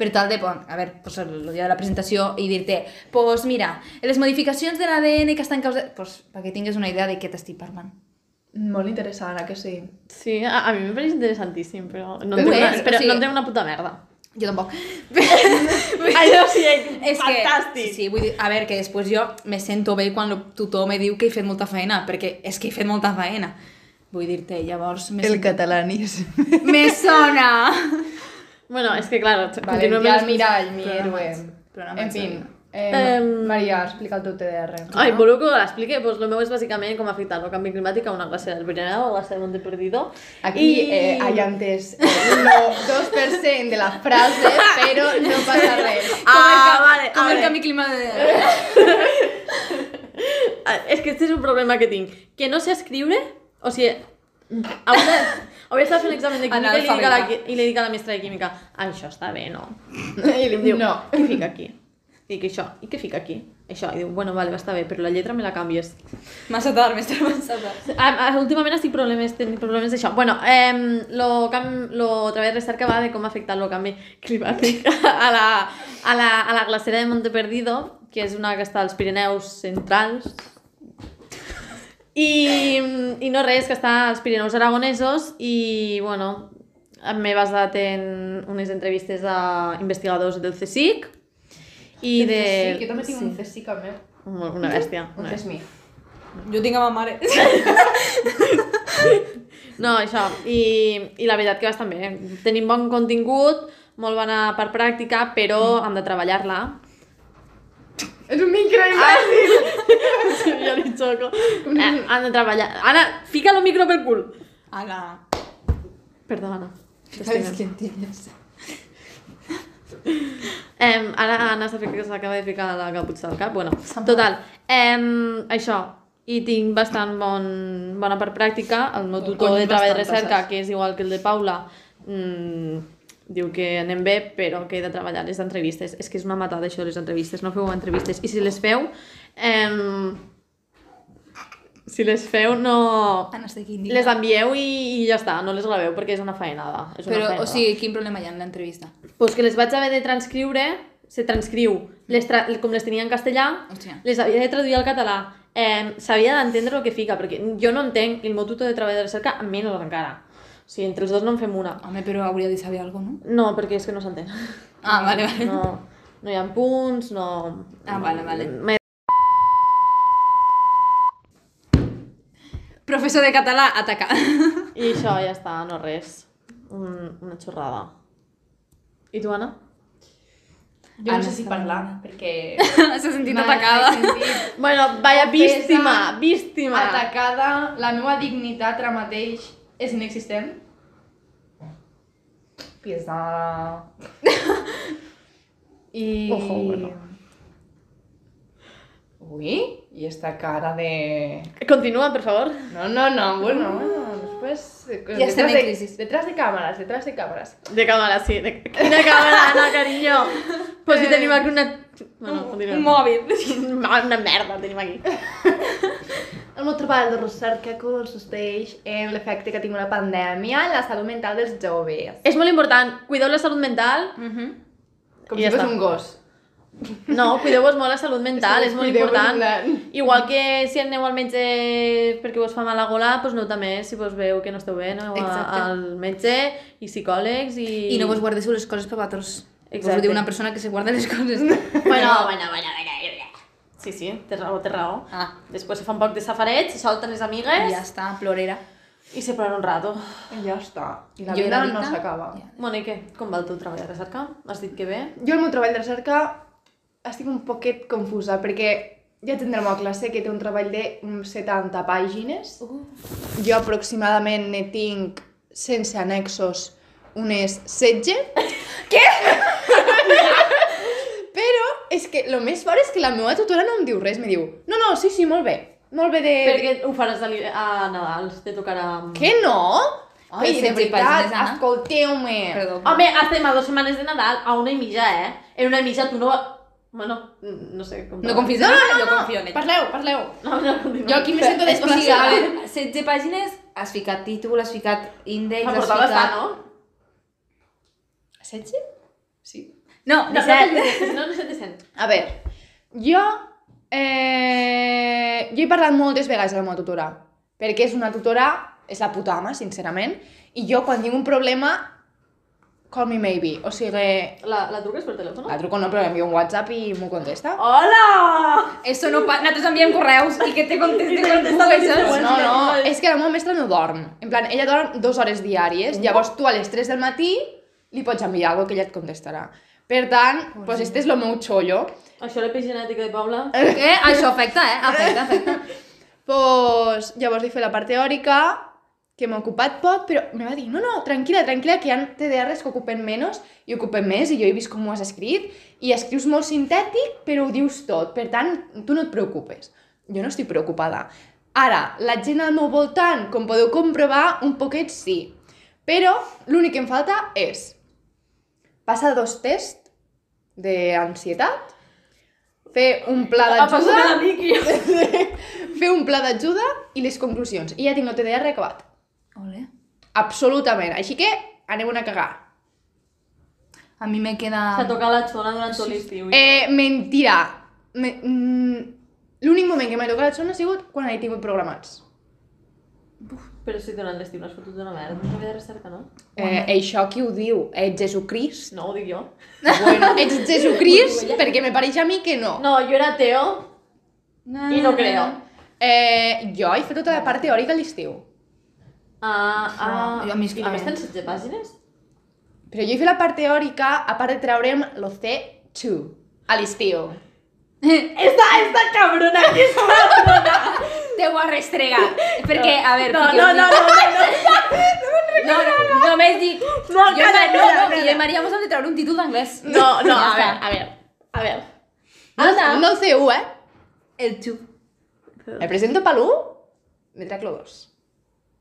Speaker 3: Per tal de, bon, a veure, pues, el dia de la presentació i dir-te, pues mira, les modificacions de l'ADN que estan causant... Pues, perquè tingues una idea de què t'estic parlant.
Speaker 2: Molt interessant, a que sí?
Speaker 1: Sí, a, a mi me pareix interessantíssim, però no
Speaker 2: Però
Speaker 1: entenc una,
Speaker 3: és, o
Speaker 1: però
Speaker 3: sigui-
Speaker 1: no entenc una puta merda.
Speaker 3: Jo tampoc.
Speaker 1: Allò sí,
Speaker 3: És
Speaker 1: és fantàstic.
Speaker 3: Que, sí, sí, vull dir, a veure, que després jo me sento bé quan el tutor me diu que he fet molta feina, perquè és que he fet molta feina. Vull dir-te, llavors... Me sento-
Speaker 2: catalanisme.
Speaker 3: Me sona!
Speaker 1: Bueno, és que, claro, continuem
Speaker 2: València
Speaker 1: amb
Speaker 2: al
Speaker 1: les-
Speaker 2: mirall, mi
Speaker 3: Programa
Speaker 2: héroe.
Speaker 3: ets- programa
Speaker 2: En
Speaker 3: ets
Speaker 2: fin.
Speaker 3: héroe.
Speaker 2: Eh,
Speaker 1: Em,
Speaker 2: Maria, explica el teu TDR.
Speaker 1: Ai, voleu que l'expliqui? Doncs pues el meu és bàsicament com afectar el canvi climàtic a una classe del Pirineu, a la classe del Monte Perdido.
Speaker 2: Aquí eh, hay antes eh, no, 2% de la frase, pero no pasa res.
Speaker 3: Com el
Speaker 1: Ah,
Speaker 3: ca-
Speaker 1: vale,
Speaker 3: Com el
Speaker 1: vale.
Speaker 3: canvi climàtic...
Speaker 1: Ah, És que este és un problema que tinc. Que no sé escriure, o sigui, hauria, hauria estat fent un examen de química i li, dic a la, qui- i li dic a la mestra de química això està bé, no? I li diu,
Speaker 2: No.
Speaker 1: què fica aquí? Dic això, i què fica aquí? Això, i diu, bueno, vale, va estar bé, però la lletra me la canvies.
Speaker 3: Massa tard, mestre, massa tard.
Speaker 1: A- a- Ah, Últimament estic problemes, tenint problemes d'això. Bueno, eh, lo, cam, lo treball de recerca va de com afectar el canvi climàtic a la, a la, a la glacera de Monte Perdido, que és una que està als Pirineus centrals. I, i no res, que està als Pirineus aragonesos i, bueno, m'he basat en unes entrevistes a investigadors del CSIC i de...
Speaker 2: Sí, jo també tinc un CSIC al meu.
Speaker 1: Una bèstia.
Speaker 2: Un
Speaker 1: Una bèstia.
Speaker 2: CSMI.
Speaker 3: Jo tinc a ma mare.
Speaker 1: No, això, i, i la veritat que bastant bé. Tenim bon contingut, molt bona part pràctica, però hem de treballar-la.
Speaker 2: És un micro imbècil.
Speaker 1: Sí, jo li xoco. Eh, hem de treballar... Anna, fica el micro pel cul!
Speaker 3: Ala.
Speaker 1: Perdó, Anna.
Speaker 3: Sabes que entiendes.
Speaker 1: Eh, ara Anna s'ha fet que s'acaba de ficar la caputxa del cap. Bueno,
Speaker 3: Se'n
Speaker 1: total. Eh, això, i tinc bastant bon, bona part pràctica. El meu tutor
Speaker 3: Cony,
Speaker 1: de treball de
Speaker 3: bastant,
Speaker 1: recerca,
Speaker 3: passes.
Speaker 1: que és igual que el de Paula, mm, diu que anem bé, però que he de treballar les entrevistes. És que és una matada, això, les entrevistes. No feu entrevistes. I si les feu... Eh, si les feu, no...
Speaker 3: Anna, estic indignada.
Speaker 1: Les envieu i, i ja està, no les graveu perquè és una faenada. És una
Speaker 3: Però,
Speaker 1: faenada.
Speaker 3: o sigui, quin problema hi ha en l'entrevista?
Speaker 1: Pues que les vaig haver de transcriure, se transcriu, les tra com les tenia en castellà,
Speaker 3: Hòstia.
Speaker 1: les havia de traduir al català. Eh, S'havia d'entendre el que fica, perquè jo no entenc, i el meu tutor de treball de recerca menys encara. O sigui, entre els dos no en fem una.
Speaker 3: Home, però hauria de saber alguna cosa,
Speaker 1: No, perquè és que no s'entén.
Speaker 3: no? Ah, vale, vale.
Speaker 1: No, no hi ha punts, no...
Speaker 3: Ah, vale, vale.
Speaker 1: Me-
Speaker 3: Professor de català, ataca.
Speaker 1: I això ja està, no res. Un, una xorrada. I tu, Anna?
Speaker 2: Jo no
Speaker 3: Anna
Speaker 2: sé si
Speaker 3: està
Speaker 2: parlar,
Speaker 3: malament.
Speaker 2: perquè...
Speaker 3: S'ha sentit atacada.
Speaker 2: M'he sentit
Speaker 1: Bueno, vaya
Speaker 2: Confessa.
Speaker 1: vístima, vístima.
Speaker 2: atacada, la meva dignitat ara mateix és inexistent. Pesada. I...
Speaker 1: Ojo, bueno.
Speaker 2: Ui, i esta cara de...
Speaker 1: Continua, per favor.
Speaker 2: No, no, no, bueno. Pues, eh,
Speaker 3: Ya estem
Speaker 2: detrás
Speaker 3: en
Speaker 2: de-
Speaker 3: crisis.
Speaker 2: Detrás de cámaras, detrás de cámaras.
Speaker 1: De cámara, sí. De... Quina cámara, Anna, carinyo? Pues si
Speaker 3: Eh,
Speaker 1: tenim aquí una... Bueno,
Speaker 3: Un, un
Speaker 1: continuem.
Speaker 3: mòbil.
Speaker 1: Una merda tenim aquí.
Speaker 2: El meu treball de recerca consisteix en l'efecte que tinc una pandèmia en la salut mental dels joves.
Speaker 1: És molt important, cuideu la salut mental.
Speaker 3: Uh -huh.
Speaker 2: Com
Speaker 1: I
Speaker 2: si
Speaker 1: ja
Speaker 2: fos
Speaker 1: està.
Speaker 2: un gos.
Speaker 1: No, cuideu-vos molt la salut mental,
Speaker 2: Sí,
Speaker 1: és molt
Speaker 2: cuideu-vos
Speaker 1: important.
Speaker 2: la-
Speaker 1: Igual que si aneu al metge perquè vos fa mal la gola, doncs aneu també, si vos veu que no esteu bé, aneu a,
Speaker 3: Exacte.
Speaker 1: al metge i psicòlegs i...
Speaker 3: I no vos guardéssiu les coses per vosaltres. Vos ho
Speaker 1: Exacte.
Speaker 3: diu una persona que se guarda les coses.
Speaker 1: Bueno, bueno, bueno, bueno. Sí, sí, té raó, té raó.
Speaker 3: Ah.
Speaker 1: Després se fa un poc de safareig, se solten les amigues
Speaker 3: I ja està, plorera.
Speaker 1: i se ploren un rato.
Speaker 2: I ja està. I la
Speaker 3: Jo
Speaker 2: vida
Speaker 3: era
Speaker 2: no
Speaker 3: Rita.
Speaker 2: s'acaba.
Speaker 3: Ja.
Speaker 1: Bueno, i què? Com va el teu treball de recerca? Has dit que bé?
Speaker 2: Jo el meu treball de recerca estic un poquet confusa perquè ja tindrem a classe que té un treball de mm, 70 pàgines.
Speaker 3: Uh.
Speaker 2: Jo aproximadament ne tinc, sense annexos, unes 16. Què? Però és que el més fort és que la meva tutora no em diu res, me diu no, no, sí, sí, molt bé, molt bé de...
Speaker 1: Perquè ho faràs a, li- a Nadal, te tocarà... amb-
Speaker 2: Eh, Què no? Ai,
Speaker 3: Però
Speaker 2: de
Speaker 3: 16
Speaker 2: veritat,
Speaker 3: pàgines, Anna.
Speaker 2: escolteu-me.
Speaker 3: Perdó.
Speaker 1: Home, estem a dues setmanes de Nadal, a una i mitja, eh? En una i mitja tu no... va- Bueno, no sé com...
Speaker 3: No confies en
Speaker 2: No, no,
Speaker 3: ella,
Speaker 2: no,
Speaker 3: jo
Speaker 2: no,
Speaker 3: confio en ella.
Speaker 2: parleu, parleu.
Speaker 1: No, no, continua.
Speaker 2: Jo aquí me sento
Speaker 3: O sigui, a
Speaker 2: desplaçada.
Speaker 3: veure, 16 pàgines, has ficat títol, has ficat índex,
Speaker 1: La
Speaker 3: has
Speaker 1: portada està,
Speaker 3: ficat...
Speaker 1: no?
Speaker 2: 16? Sí.
Speaker 3: No,
Speaker 1: No,
Speaker 3: disset.
Speaker 1: no, no, no, no se te sent.
Speaker 2: A veure, jo... Eh, jo he parlat moltes vegades de la meva tutora, perquè és una tutora, és la puta ama, sincerament, i jo quan tinc un problema, call me maybe, o sigui,
Speaker 1: La, la truques per telèfon?
Speaker 2: la truco no, però envio un WhatsApp i m'ho contesta.
Speaker 1: Hola!
Speaker 3: Eso no pa... Nosaltres enviem correus i que te
Speaker 1: I
Speaker 3: conteste
Speaker 1: te
Speaker 3: quan
Speaker 1: contesta
Speaker 3: pugues,
Speaker 1: quan
Speaker 3: saps?
Speaker 1: pugues.
Speaker 2: No, no,
Speaker 1: Igual.
Speaker 2: és que la meva mestra no dorm. En plan, ella dorm dues hores diàries, llavors tu a les 3 del matí li pots enviar alguna cosa que ella et contestarà. Per tant, doncs pues este és el meu xollo.
Speaker 1: Això era epigenètica de Paula.
Speaker 3: Eh? Això afecta, eh? Afecta, afecta.
Speaker 2: Pues, llavors he fet la part teòrica, que m'ha ocupat poc, però me va dir, no, no, tranquil·la, tranquil·la, que hi ha TDRs que ocupen menys i ocupen més, i jo he vist com ho has escrit, i escrius molt sintètic, però ho dius tot, per tant, tu no et preocupes. Jo no estic preocupada. Ara, la gent al meu voltant, com podeu comprovar, un poquet sí. Però l'únic que em falta és passar dos tests d'ansietat, fer un pla
Speaker 1: Ah,
Speaker 2: d'ajuda
Speaker 1: passa-me la Vicky.
Speaker 2: fer un pla d'ajuda i les conclusions. I ja tinc el TDR acabat.
Speaker 3: Ole.
Speaker 2: Absolutament. Així que anem a cagar.
Speaker 3: A mi me
Speaker 1: S'ha
Speaker 3: queda...
Speaker 1: tocat la xona durant tot l'estiu.
Speaker 2: Eh, mentira. Me, mm, L'únic moment que m'he tocat la zona ha sigut quan he tingut programats.
Speaker 1: Però si durant l'estiu no has fotut una merda. No havia de recerca, no?
Speaker 2: Eh, això qui ho diu? Ets Jesucrist?
Speaker 1: No, ho dic jo.
Speaker 2: Bueno, ets Jesucrist perquè me pareix a mi que no.
Speaker 1: No, jo era Teo i no creo.
Speaker 2: Eh, jo he fet tota la part teòrica a l'estiu.
Speaker 1: Ah, ah...
Speaker 3: Jo a mi és
Speaker 1: I
Speaker 3: que-
Speaker 1: només tens 16 pàgines?
Speaker 2: Però jo he fet la part teòrica a part de treure'm lo C2 a l'estiu.
Speaker 1: Esta, esta cabrona, que és cabrona!
Speaker 3: Te ho has restregat. Perquè, a veure...
Speaker 1: No,
Speaker 3: perquè
Speaker 1: no,
Speaker 3: us
Speaker 1: no,
Speaker 3: dic-
Speaker 1: no, no,
Speaker 3: No, no, només dic...
Speaker 1: No,
Speaker 3: jo, i
Speaker 1: calla,
Speaker 3: Maria-
Speaker 1: calla,
Speaker 3: no, que
Speaker 1: calla.
Speaker 3: jo i Maria mos hem de treure un títol d'anglès.
Speaker 1: no. No, no, a
Speaker 3: Ja
Speaker 1: veure,
Speaker 3: està.
Speaker 1: a veure, a veure.
Speaker 2: No, no el C1, eh?
Speaker 3: El tu.
Speaker 2: Me presento pel 1, me trec el 2.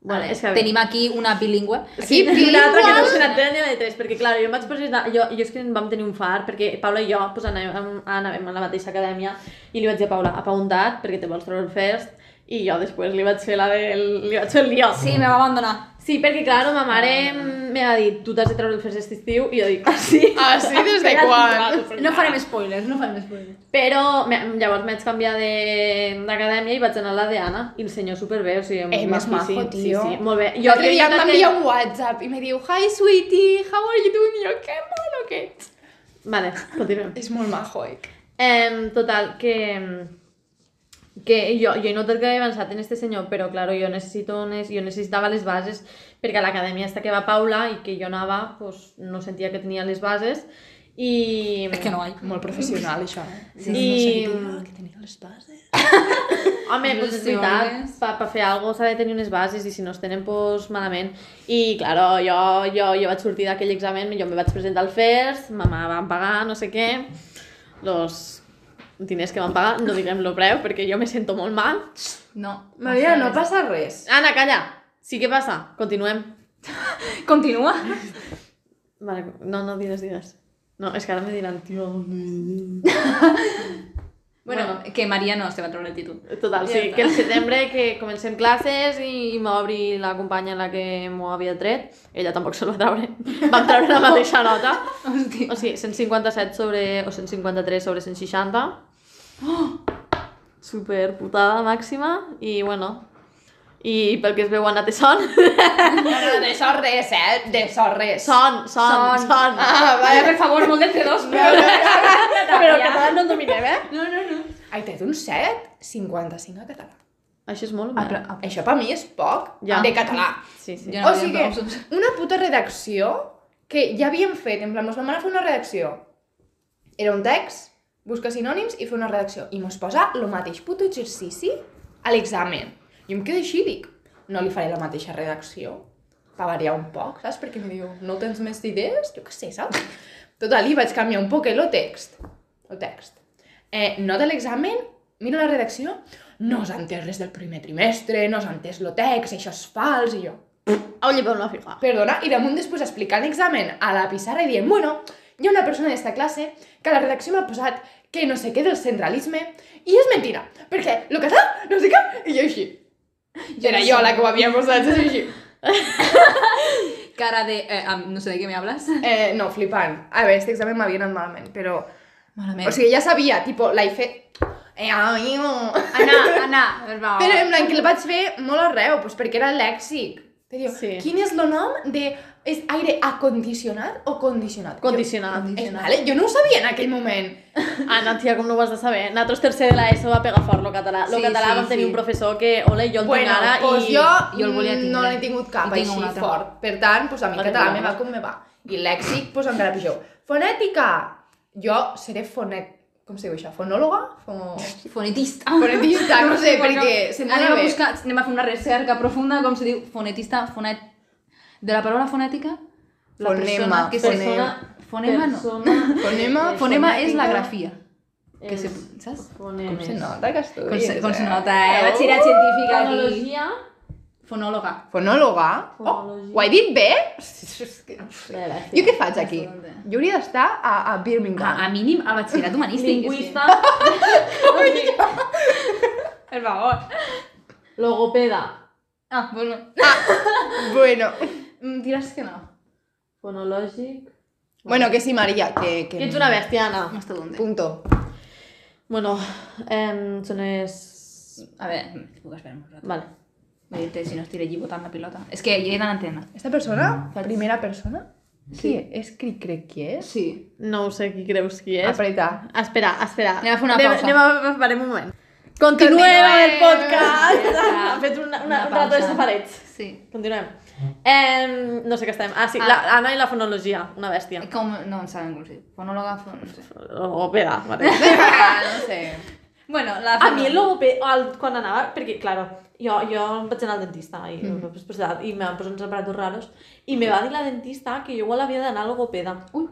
Speaker 1: Bueno, és que a veure.
Speaker 3: Tenim aquí una bilingüe.
Speaker 1: Sí,
Speaker 2: Aquí,
Speaker 1: i l'altra que no
Speaker 2: bilingües.
Speaker 1: se n'entenen ni la de tres, perquè, clar, jo em vaig presentar... Jo, jo és que en vam tenir un far, perquè Paula i jo pues, anàvem, anàvem a la mateixa acadèmia i li vaig dir a Paula, apauntat, perquè te vols treure el first, i jo després li vaig fer la del... li vaig fer el lío.
Speaker 3: Sí, me va abandonar.
Speaker 1: Sí, perquè, clar, ma mare me va dir, tu t'has de treure el first aquest estiu, i jo dic, ah, sí?
Speaker 2: Ah, sí? Des de
Speaker 1: Espera't un
Speaker 2: quan?
Speaker 1: rato,
Speaker 3: No farem spoilers, no farem spoilers.
Speaker 1: Però me, llavors vaig canviar de- d'acadèmia i vaig anar a la d'Anna i el senyor superbé, o sigui,
Speaker 2: Eh, més
Speaker 1: maquíssim.
Speaker 2: majo,
Speaker 1: sí,
Speaker 2: tio.
Speaker 1: sí, molt bé.
Speaker 2: Jo l'altre
Speaker 1: crec
Speaker 2: dia em
Speaker 1: que-
Speaker 2: va enviar un WhatsApp i me diu Hi, sweetie, how are you doing? I jo, que mono que ets.
Speaker 1: Vale, continuem.
Speaker 2: És molt majo, eh?
Speaker 1: Eh, total, que... Que jo, jo he notat que he avançat en este senyor, però, claro, jo, necessito unes, jo necessitava les bases, perquè a l'acadèmia esta que va Paula i que jo anava, pues, no sentia que tenia les bases, i...
Speaker 3: És que no hi.
Speaker 2: Molt professional, això, eh?
Speaker 1: Sí, I- no sentia
Speaker 3: que tenia les bases.
Speaker 1: Home, pues, és
Speaker 3: Les
Speaker 1: veritat,
Speaker 3: teòriques.
Speaker 1: per pa fer alguna cosa s'ha de tenir unes bases i si no es tenen, pues, malament. I, claro, jo, jo, jo vaig sortir d'aquell examen, jo me vaig presentar al FERS, mamà van pagar, no sé què, los diners que van pagar, no diguem lo preu, perquè jo me sento molt mal.
Speaker 3: No.
Speaker 2: Maria, no passa res.
Speaker 1: Anna, calla! Sí, què passa? Continuem.
Speaker 3: Continua.
Speaker 1: Vale, no, no digues, digues. No, és que ara me diran, tio...
Speaker 3: Bueno, que Maria no se va treure el títol.
Speaker 1: Total,
Speaker 3: Ja
Speaker 1: sí,
Speaker 3: està.
Speaker 1: que el setembre que comencem classes i, i m'obri la companya la que m'ho havia tret, ella tampoc se la va treure, vam treure la mateixa nota,
Speaker 3: Hòstia.
Speaker 1: o sigui, 157 sobre, o 153 sobre 160, super putada màxima, i bueno, i pel que es veu anat son,
Speaker 2: No, de sort res, eh? De sort res.
Speaker 1: son, son,
Speaker 3: Son.
Speaker 1: son.
Speaker 2: Ah,
Speaker 3: Vaya,
Speaker 2: vale.
Speaker 3: per favor, molt de C2.
Speaker 1: Però el català no el dominem, eh?
Speaker 3: No, no, no.
Speaker 2: Ai, té d'un 7, 55 a català.
Speaker 1: Això és molt
Speaker 3: Ah,
Speaker 1: mal.
Speaker 3: però, ah,
Speaker 2: Això per mi és poc
Speaker 1: Ja.
Speaker 2: de català.
Speaker 1: Sí, sí.
Speaker 3: Jo
Speaker 2: O
Speaker 3: no
Speaker 2: sigui
Speaker 3: veia
Speaker 2: que,
Speaker 3: prou.
Speaker 2: una puta redacció que ja havíem fet, en plan, mos vam anar a fer una redacció. Era un text, busca sinònims i fer una redacció. I mos posa el mateix puto exercici a l'examen. Jo em quedo així i dic, no li faré la mateixa redacció, per variar un poc, saps? Perquè em diu, no tens més idees? Jo què sé, saps? Total, i vaig canviar un poc el text. El text. Eh, no de l'examen, miro la redacció, no s'ha entès res del primer trimestre, no s'ha entès el text, això és fals, i jo...
Speaker 1: Oye, però no fijar.
Speaker 2: Perdona, i damunt després explicant l'examen a la pissarra i dient, bueno, hi ha una persona d'esta classe que a la redacció m'ha posat que no sé què del centralisme i és mentira, perquè el català no sé què, i jo així. Jo era
Speaker 3: no
Speaker 2: jo
Speaker 3: sé.
Speaker 2: la que ho havia posat, saps així.
Speaker 3: Cara de... Eh, am- no sé de què me hablas.
Speaker 2: Eh, no, flipant. A veure, este examen m'havia anat malament, però...
Speaker 3: Malament.
Speaker 2: O sigui, ja sabia, tipo, l'he fet... Eh, ai, no.
Speaker 3: Anna, Anna, per favor.
Speaker 2: Però en plan que el vaig fer molt arreu, doncs perquè era lèxic. Te diu,
Speaker 1: Sí.
Speaker 2: quin és el nom de... És aire acondicionat o condicionat? Jo-
Speaker 1: Condicionat.
Speaker 2: Eh, vale, jo no ho sabia en aquell moment.
Speaker 1: Anna, tia, com no ho has de saber? Nosaltres tercer de l'ESO va pegar fort lo català. Lo
Speaker 3: Sí,
Speaker 1: català
Speaker 3: sí,
Speaker 1: vam tenir
Speaker 3: sí.
Speaker 1: un professor que, ole, jo el tinc ara
Speaker 2: pues
Speaker 1: i...
Speaker 2: doncs jo,
Speaker 3: jo el volia
Speaker 2: mm,
Speaker 3: tindre.
Speaker 2: no n'he tingut cap
Speaker 3: I tinc un
Speaker 2: així
Speaker 3: altre.
Speaker 2: fort. Per tant, pues, a mi
Speaker 1: No
Speaker 2: català
Speaker 1: tinc
Speaker 2: me va com me va. I lèxic, pues, encara pitjor. Fonètica! Jo seré fonet... Com se diu això? Fonòloga? Fo...
Speaker 3: em, Fonetista.
Speaker 2: Fonetista, no sé,
Speaker 3: Bueno,
Speaker 2: perquè se m'ha
Speaker 3: anem a
Speaker 2: bé.
Speaker 3: buscar, anem a fer una recerca profunda, com se diu, fonetista, fonet... De la paraula fonètica, la
Speaker 2: Fonema,
Speaker 3: persona que se...
Speaker 2: fonema.
Speaker 3: Fonema no.
Speaker 1: Persona...
Speaker 2: Fonema,
Speaker 3: Fonema és
Speaker 2: fonètica.
Speaker 3: la grafia. Que se,
Speaker 1: és-
Speaker 3: saps?
Speaker 1: Fonemes.
Speaker 2: Com se nota que
Speaker 3: Com
Speaker 2: estudies, Uh!
Speaker 3: se, com se nota, eh? Batxillerat científica aquí.
Speaker 1: Fonologia.
Speaker 3: Fonòloga.
Speaker 2: Fonòloga? Oh,
Speaker 1: Fonologia.
Speaker 2: ho he dit bé? Jo què faig aquí?
Speaker 3: Bastante.
Speaker 2: Jo hauria d'estar a, a
Speaker 3: A,
Speaker 2: Birmingham.
Speaker 3: a mínim, al batxillerat humanístic.
Speaker 1: Lingüista.
Speaker 3: És que... Per favor.
Speaker 1: Logopeda.
Speaker 3: Ah, bueno.
Speaker 2: Bueno,
Speaker 3: Em Diràs que no.
Speaker 1: Fonològic.
Speaker 2: bueno, que sí, Maria, que... que...
Speaker 1: Que ets una bèstia, Anna.
Speaker 3: Mastodonte.
Speaker 2: Punto.
Speaker 1: Bueno, eh, són les...
Speaker 3: A veure, puc esperar un rato.
Speaker 1: Vale.
Speaker 3: Vull dir-te, si no estiré allí botant la pilota. És que hi he d'anar a entrenar.
Speaker 2: Esta persona, la primera persona,
Speaker 3: Sí.
Speaker 2: qui és? Qui crec qui és?
Speaker 3: Sí.
Speaker 1: No ho sé qui creus qui és.
Speaker 2: Apreta.
Speaker 1: Espera, espera.
Speaker 3: Anem a fer una
Speaker 1: anem,
Speaker 3: pausa.
Speaker 1: Anem a parar un moment. Continuem amb el podcast.
Speaker 3: Ja
Speaker 1: Ha fet una, una,
Speaker 3: Una
Speaker 1: un rato de
Speaker 3: pausa.
Speaker 1: safarets.
Speaker 3: Sí.
Speaker 1: Continuem. Eh, no sé què estem. Ah, sí,
Speaker 3: Ah.
Speaker 1: la, Anna i la fonologia, una bèstia.
Speaker 3: Com... No en saben com si... Fonòloga, fon... No sé.
Speaker 1: Logopeda, vale.
Speaker 3: Ah,
Speaker 2: no sé.
Speaker 3: Bueno, la...
Speaker 1: A mi el logopeda, el, quan anava, perquè, claro, jo, jo vaig anar al dentista i, mm -hmm. i m'han posat uns aparatos raros i me va dir la dentista que jo igual havia d'anar a logopeda.
Speaker 3: Ui.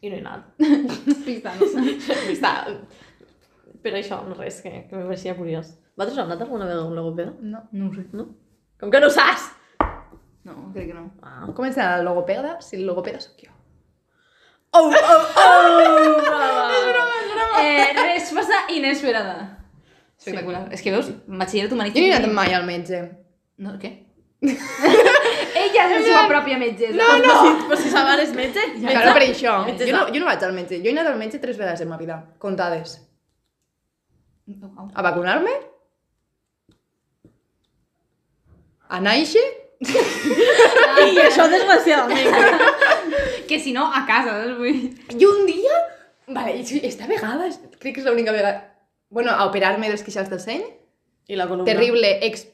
Speaker 1: I no he anat.
Speaker 3: Pistanos.
Speaker 1: Està... Però això, no res, que, que me pareixia curiós. Vosaltres heu anat alguna vegada a un logopeda?
Speaker 2: No.
Speaker 3: No ho sé.
Speaker 1: No? Com que no ho saps?
Speaker 3: No, crec que no.
Speaker 1: Ah.
Speaker 2: Com ets la logopeda? Si el logopeda sóc jo.
Speaker 1: Oh, oh, oh! brava.
Speaker 3: Eh, resposta inesperada. Espectacular. És que veus, batxillerat
Speaker 2: Jo no he anat
Speaker 3: humanístic...
Speaker 2: mai al metge.
Speaker 3: No, què? Ella és la seva pròpia metgessa.
Speaker 2: No, no!
Speaker 1: Si, però si Saban és metge, metge.
Speaker 2: Claro, per això.
Speaker 1: Metge
Speaker 2: Jo no, jo no vaig al metge. Jo he anat al metge tres vegades en ma vida, contades.
Speaker 3: no.
Speaker 2: A vacunar-me? A nàixer?
Speaker 1: I això desgraciadament.
Speaker 3: Que si no, a casa, saps? Vull dir.
Speaker 2: I un dia... Vale, i sí, esta vegada, és- crec que és l'única vegada... Bueno, a operar-me dels queixals del seny.
Speaker 1: I la columna.
Speaker 2: Terrible ex...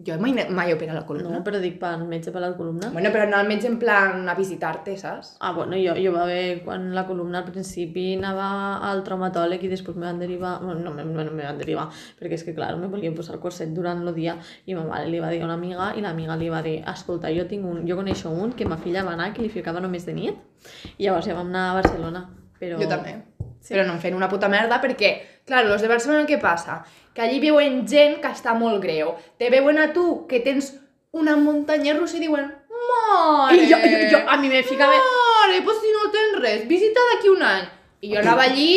Speaker 2: Jo mai, ne- mai he operat la columna.
Speaker 1: No, però dic pel metge per la columna.
Speaker 2: Bueno, però anar al metge en plan a visitar-te, saps?
Speaker 1: Ah, bueno, jo, jo va haver, quan la columna al principi anava al traumatòleg i després me van derivar, bueno, no, me, me, me van derivar, perquè és que, clar, me volien posar corset durant el dia i ma mare li va dir a una amiga i l'amiga li va dir, escolta, jo tinc un, jo coneixo un que ma filla va anar que li ficava només de nit i llavors ja vam anar a Barcelona, però...
Speaker 2: Jo també.
Speaker 1: Sí.
Speaker 2: però no en fent una puta merda perquè, clar, los de Barcelona què passa? Que allí veuen gent que està molt greu. Te veuen a tu que tens una muntanya russa i diuen Mare!
Speaker 1: I jo, jo, jo, a mi me fica... bé-
Speaker 2: Mare, pues si no tens res, visita d'aquí un any. I jo anava allí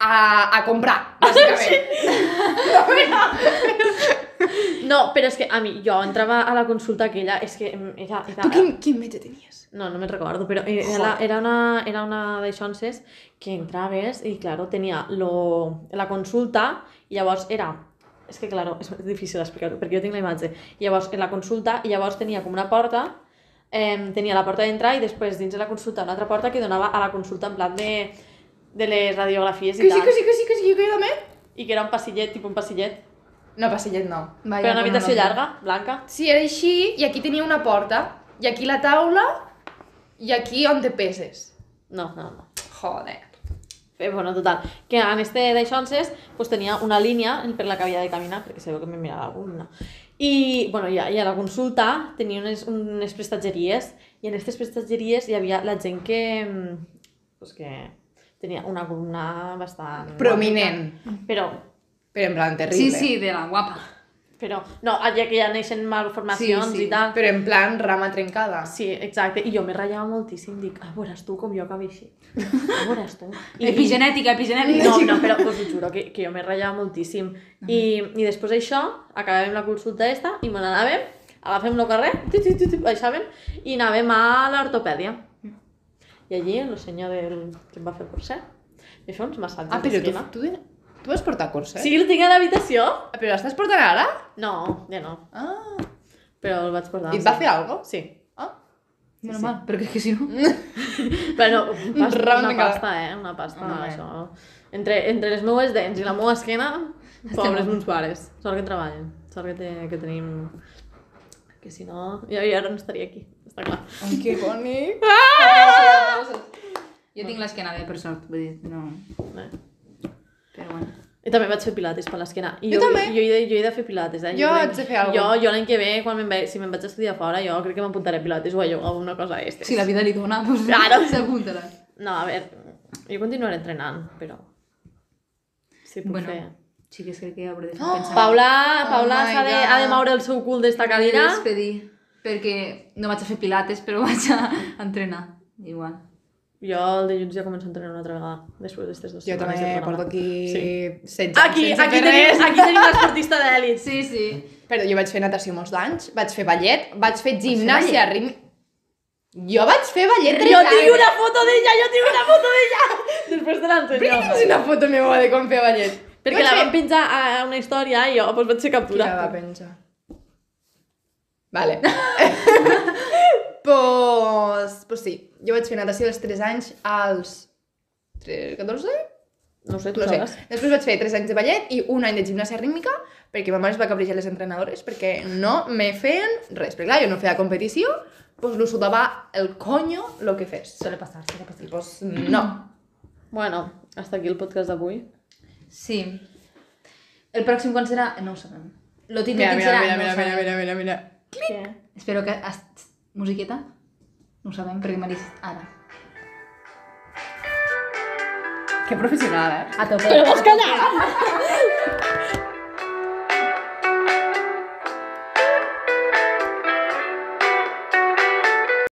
Speaker 2: a, a comprar, bàsicament.
Speaker 1: No, però és que a mi, jo entrava a la consulta aquella, és que mm, era... era...
Speaker 2: Tu quin, quin metge tenies?
Speaker 1: No, no me'n recordo, però era, la- era una, era una d'aixonses que entraves i, claro, tenia lo, la consulta i llavors era... És que, claro, és difícil explicar-ho perquè jo tinc la imatge. I llavors, en la consulta, i llavors tenia com una porta, eh, tenia la porta d'entrar i després dins de la consulta una altra porta que donava a la consulta en plan de, de les radiografies i
Speaker 2: Que sí,
Speaker 1: tal.
Speaker 2: que sí, que sí, que sí, que jo també?
Speaker 1: I que era un passillet, tipus un passillet,
Speaker 2: No, passillet no.
Speaker 3: Vaya,
Speaker 1: però una
Speaker 3: com
Speaker 1: habitació
Speaker 3: no-
Speaker 1: llarga, blanca.
Speaker 2: Sí, era així, i aquí tenia una porta, i aquí la taula, i aquí on te peses.
Speaker 1: No, no, no.
Speaker 2: Joder.
Speaker 1: Bé, Eh, bueno, total, que en este d'aixonses pues, tenia una línia per la que havia de caminar, perquè sabeu que me mirava alguna. I, bueno, i a, i a la consulta tenia unes, unes prestatgeries, i en aquestes prestatgeries hi havia la gent que, mm, pues, que tenia una columna bastant...
Speaker 2: Prominent.
Speaker 1: Però,
Speaker 2: Però en plan
Speaker 3: Sí,
Speaker 2: terrible.
Speaker 3: sí, de la guapa.
Speaker 1: però, no, ja que ja neixen malformacions
Speaker 3: Sí, sí,
Speaker 1: i tal.
Speaker 2: Però en plan rama trencada.
Speaker 1: Sí, exacte, i jo me ratllava moltíssim, dic, ah, veuràs tu com jo acabé així. Ah, veuràs tu. I-
Speaker 3: Epigenètica, epigenètica.
Speaker 1: No, no, però us ho juro, que, que jo me ratllava moltíssim.
Speaker 2: Ah.
Speaker 1: I, I després d'això, acabàvem la consulta esta i me n'anàvem, agafem el carrer, tu, tu, tu, tu, baixàvem, i anàvem a l'ortopèdia. I allí, el senyor del... que em va fer el curset, i això ens massatges
Speaker 2: Ah, però tu,
Speaker 1: d'esquena.
Speaker 2: tu, tu vas portar curset?
Speaker 1: Sí, el tinc a l'habitació?
Speaker 2: Però l'estàs portant ara?
Speaker 1: No, ja no,
Speaker 2: Ah.
Speaker 1: però el vaig portar.
Speaker 2: I et va fer algo?
Speaker 1: Sí.
Speaker 2: Ah.
Speaker 3: Menos mal, perquè és que si no...
Speaker 1: Però una
Speaker 2: Round and
Speaker 1: pasta, eh? Una pasta,
Speaker 2: Home.
Speaker 1: això. Entre, entre les meues dents i la meva esquena, pobres meus pares. Sort que treballen. Sort que, te, que tenim... Que si no... Jo, jo ara no estaria aquí, està clar.
Speaker 2: Ai, Oh, que bonic.
Speaker 3: Jo tinc l'esquena bé, per sort, vull dir, no...
Speaker 1: Eh?
Speaker 3: Però bueno.
Speaker 1: I també vaig fer pilates per l'esquena. I
Speaker 2: Jo també.
Speaker 1: Jo, he de, jo he de fer pilates, eh?
Speaker 2: Jo
Speaker 1: l'any-
Speaker 2: haig de fer alguna
Speaker 1: Jo, jo l'any que ve, quan me'n vaig, si me'n vaig a estudiar fora, jo crec que m'apuntaré a pilates o a yoga o una cosa d'estes.
Speaker 3: Si la vida li dona, doncs
Speaker 1: Claro.
Speaker 3: s'apunta-la.
Speaker 1: No, a veure, jo continuaré entrenant, però... Sí, puc
Speaker 3: Bueno,
Speaker 1: fer.
Speaker 3: sí que crec que hauré de
Speaker 2: Oh,
Speaker 3: pensar.
Speaker 1: Paula,
Speaker 2: Oh
Speaker 1: Paula
Speaker 2: my
Speaker 1: s'ha de,
Speaker 2: God.
Speaker 1: ha de moure el seu cul d'esta cadira.
Speaker 3: M'he de despedir, perquè no vaig a fer pilates, però vaig a entrenar. Igual.
Speaker 1: Jo el dilluns ja començo a entrenar una altra vegada, després d'aquestes dues
Speaker 2: Jo també
Speaker 1: setmanes de programa.
Speaker 2: porto aquí
Speaker 1: Sí.
Speaker 2: setze
Speaker 1: Aquí,
Speaker 2: sense
Speaker 1: aquí
Speaker 2: fer
Speaker 1: tenim,
Speaker 2: res.
Speaker 1: aquí tenim l'esportista d'èlit.
Speaker 3: Sí, sí.
Speaker 2: Però jo vaig fer natació molts anys, vaig fer ballet, vaig fer gimnàsia ritm... Jo vaig fer ballet 3
Speaker 1: Jo
Speaker 2: anys.
Speaker 1: tinc una foto d'ella, jo tinc una foto d'ella! Després te
Speaker 2: Per què tens
Speaker 1: l'ensenyo.
Speaker 2: una foto meva de com fer ballet?
Speaker 1: Perquè la
Speaker 2: Vaig
Speaker 1: vam penjar a a una història i jo doncs vaig fer
Speaker 2: Qui
Speaker 1: captura.
Speaker 2: la va penjar? Vale. pues, pues sí, jo vaig fer natació dels 3 anys als... 3, 14?
Speaker 1: No ho sé, tu
Speaker 2: No
Speaker 1: no
Speaker 2: sé.
Speaker 1: sabràs.
Speaker 2: Després vaig fer 3 anys de ballet i un any de gimnàsia rítmica perquè ma mare es va cabrejar les entrenadores perquè no me feien res. Perquè clar, jo no feia competició, pues lo sudava el coño lo que fes.
Speaker 3: Suele passar, suele passar.
Speaker 2: I pues no.
Speaker 1: Bueno, hasta aquí el podcast d'avui.
Speaker 3: Sí. El pròxim quan serà? No ho sabem. Lo tindré
Speaker 2: Mira,
Speaker 3: quin
Speaker 2: mira,
Speaker 3: serà?
Speaker 2: mira,
Speaker 3: no
Speaker 2: mira,
Speaker 3: ho
Speaker 2: mira,
Speaker 3: sabem.
Speaker 2: mira, mira, mira.
Speaker 1: Què?
Speaker 3: Espero que... has- Musiqueta? No ho sabem, perquè m'ha dit ara.
Speaker 2: Que professional, eh?
Speaker 3: A tope.
Speaker 1: Però vols callar?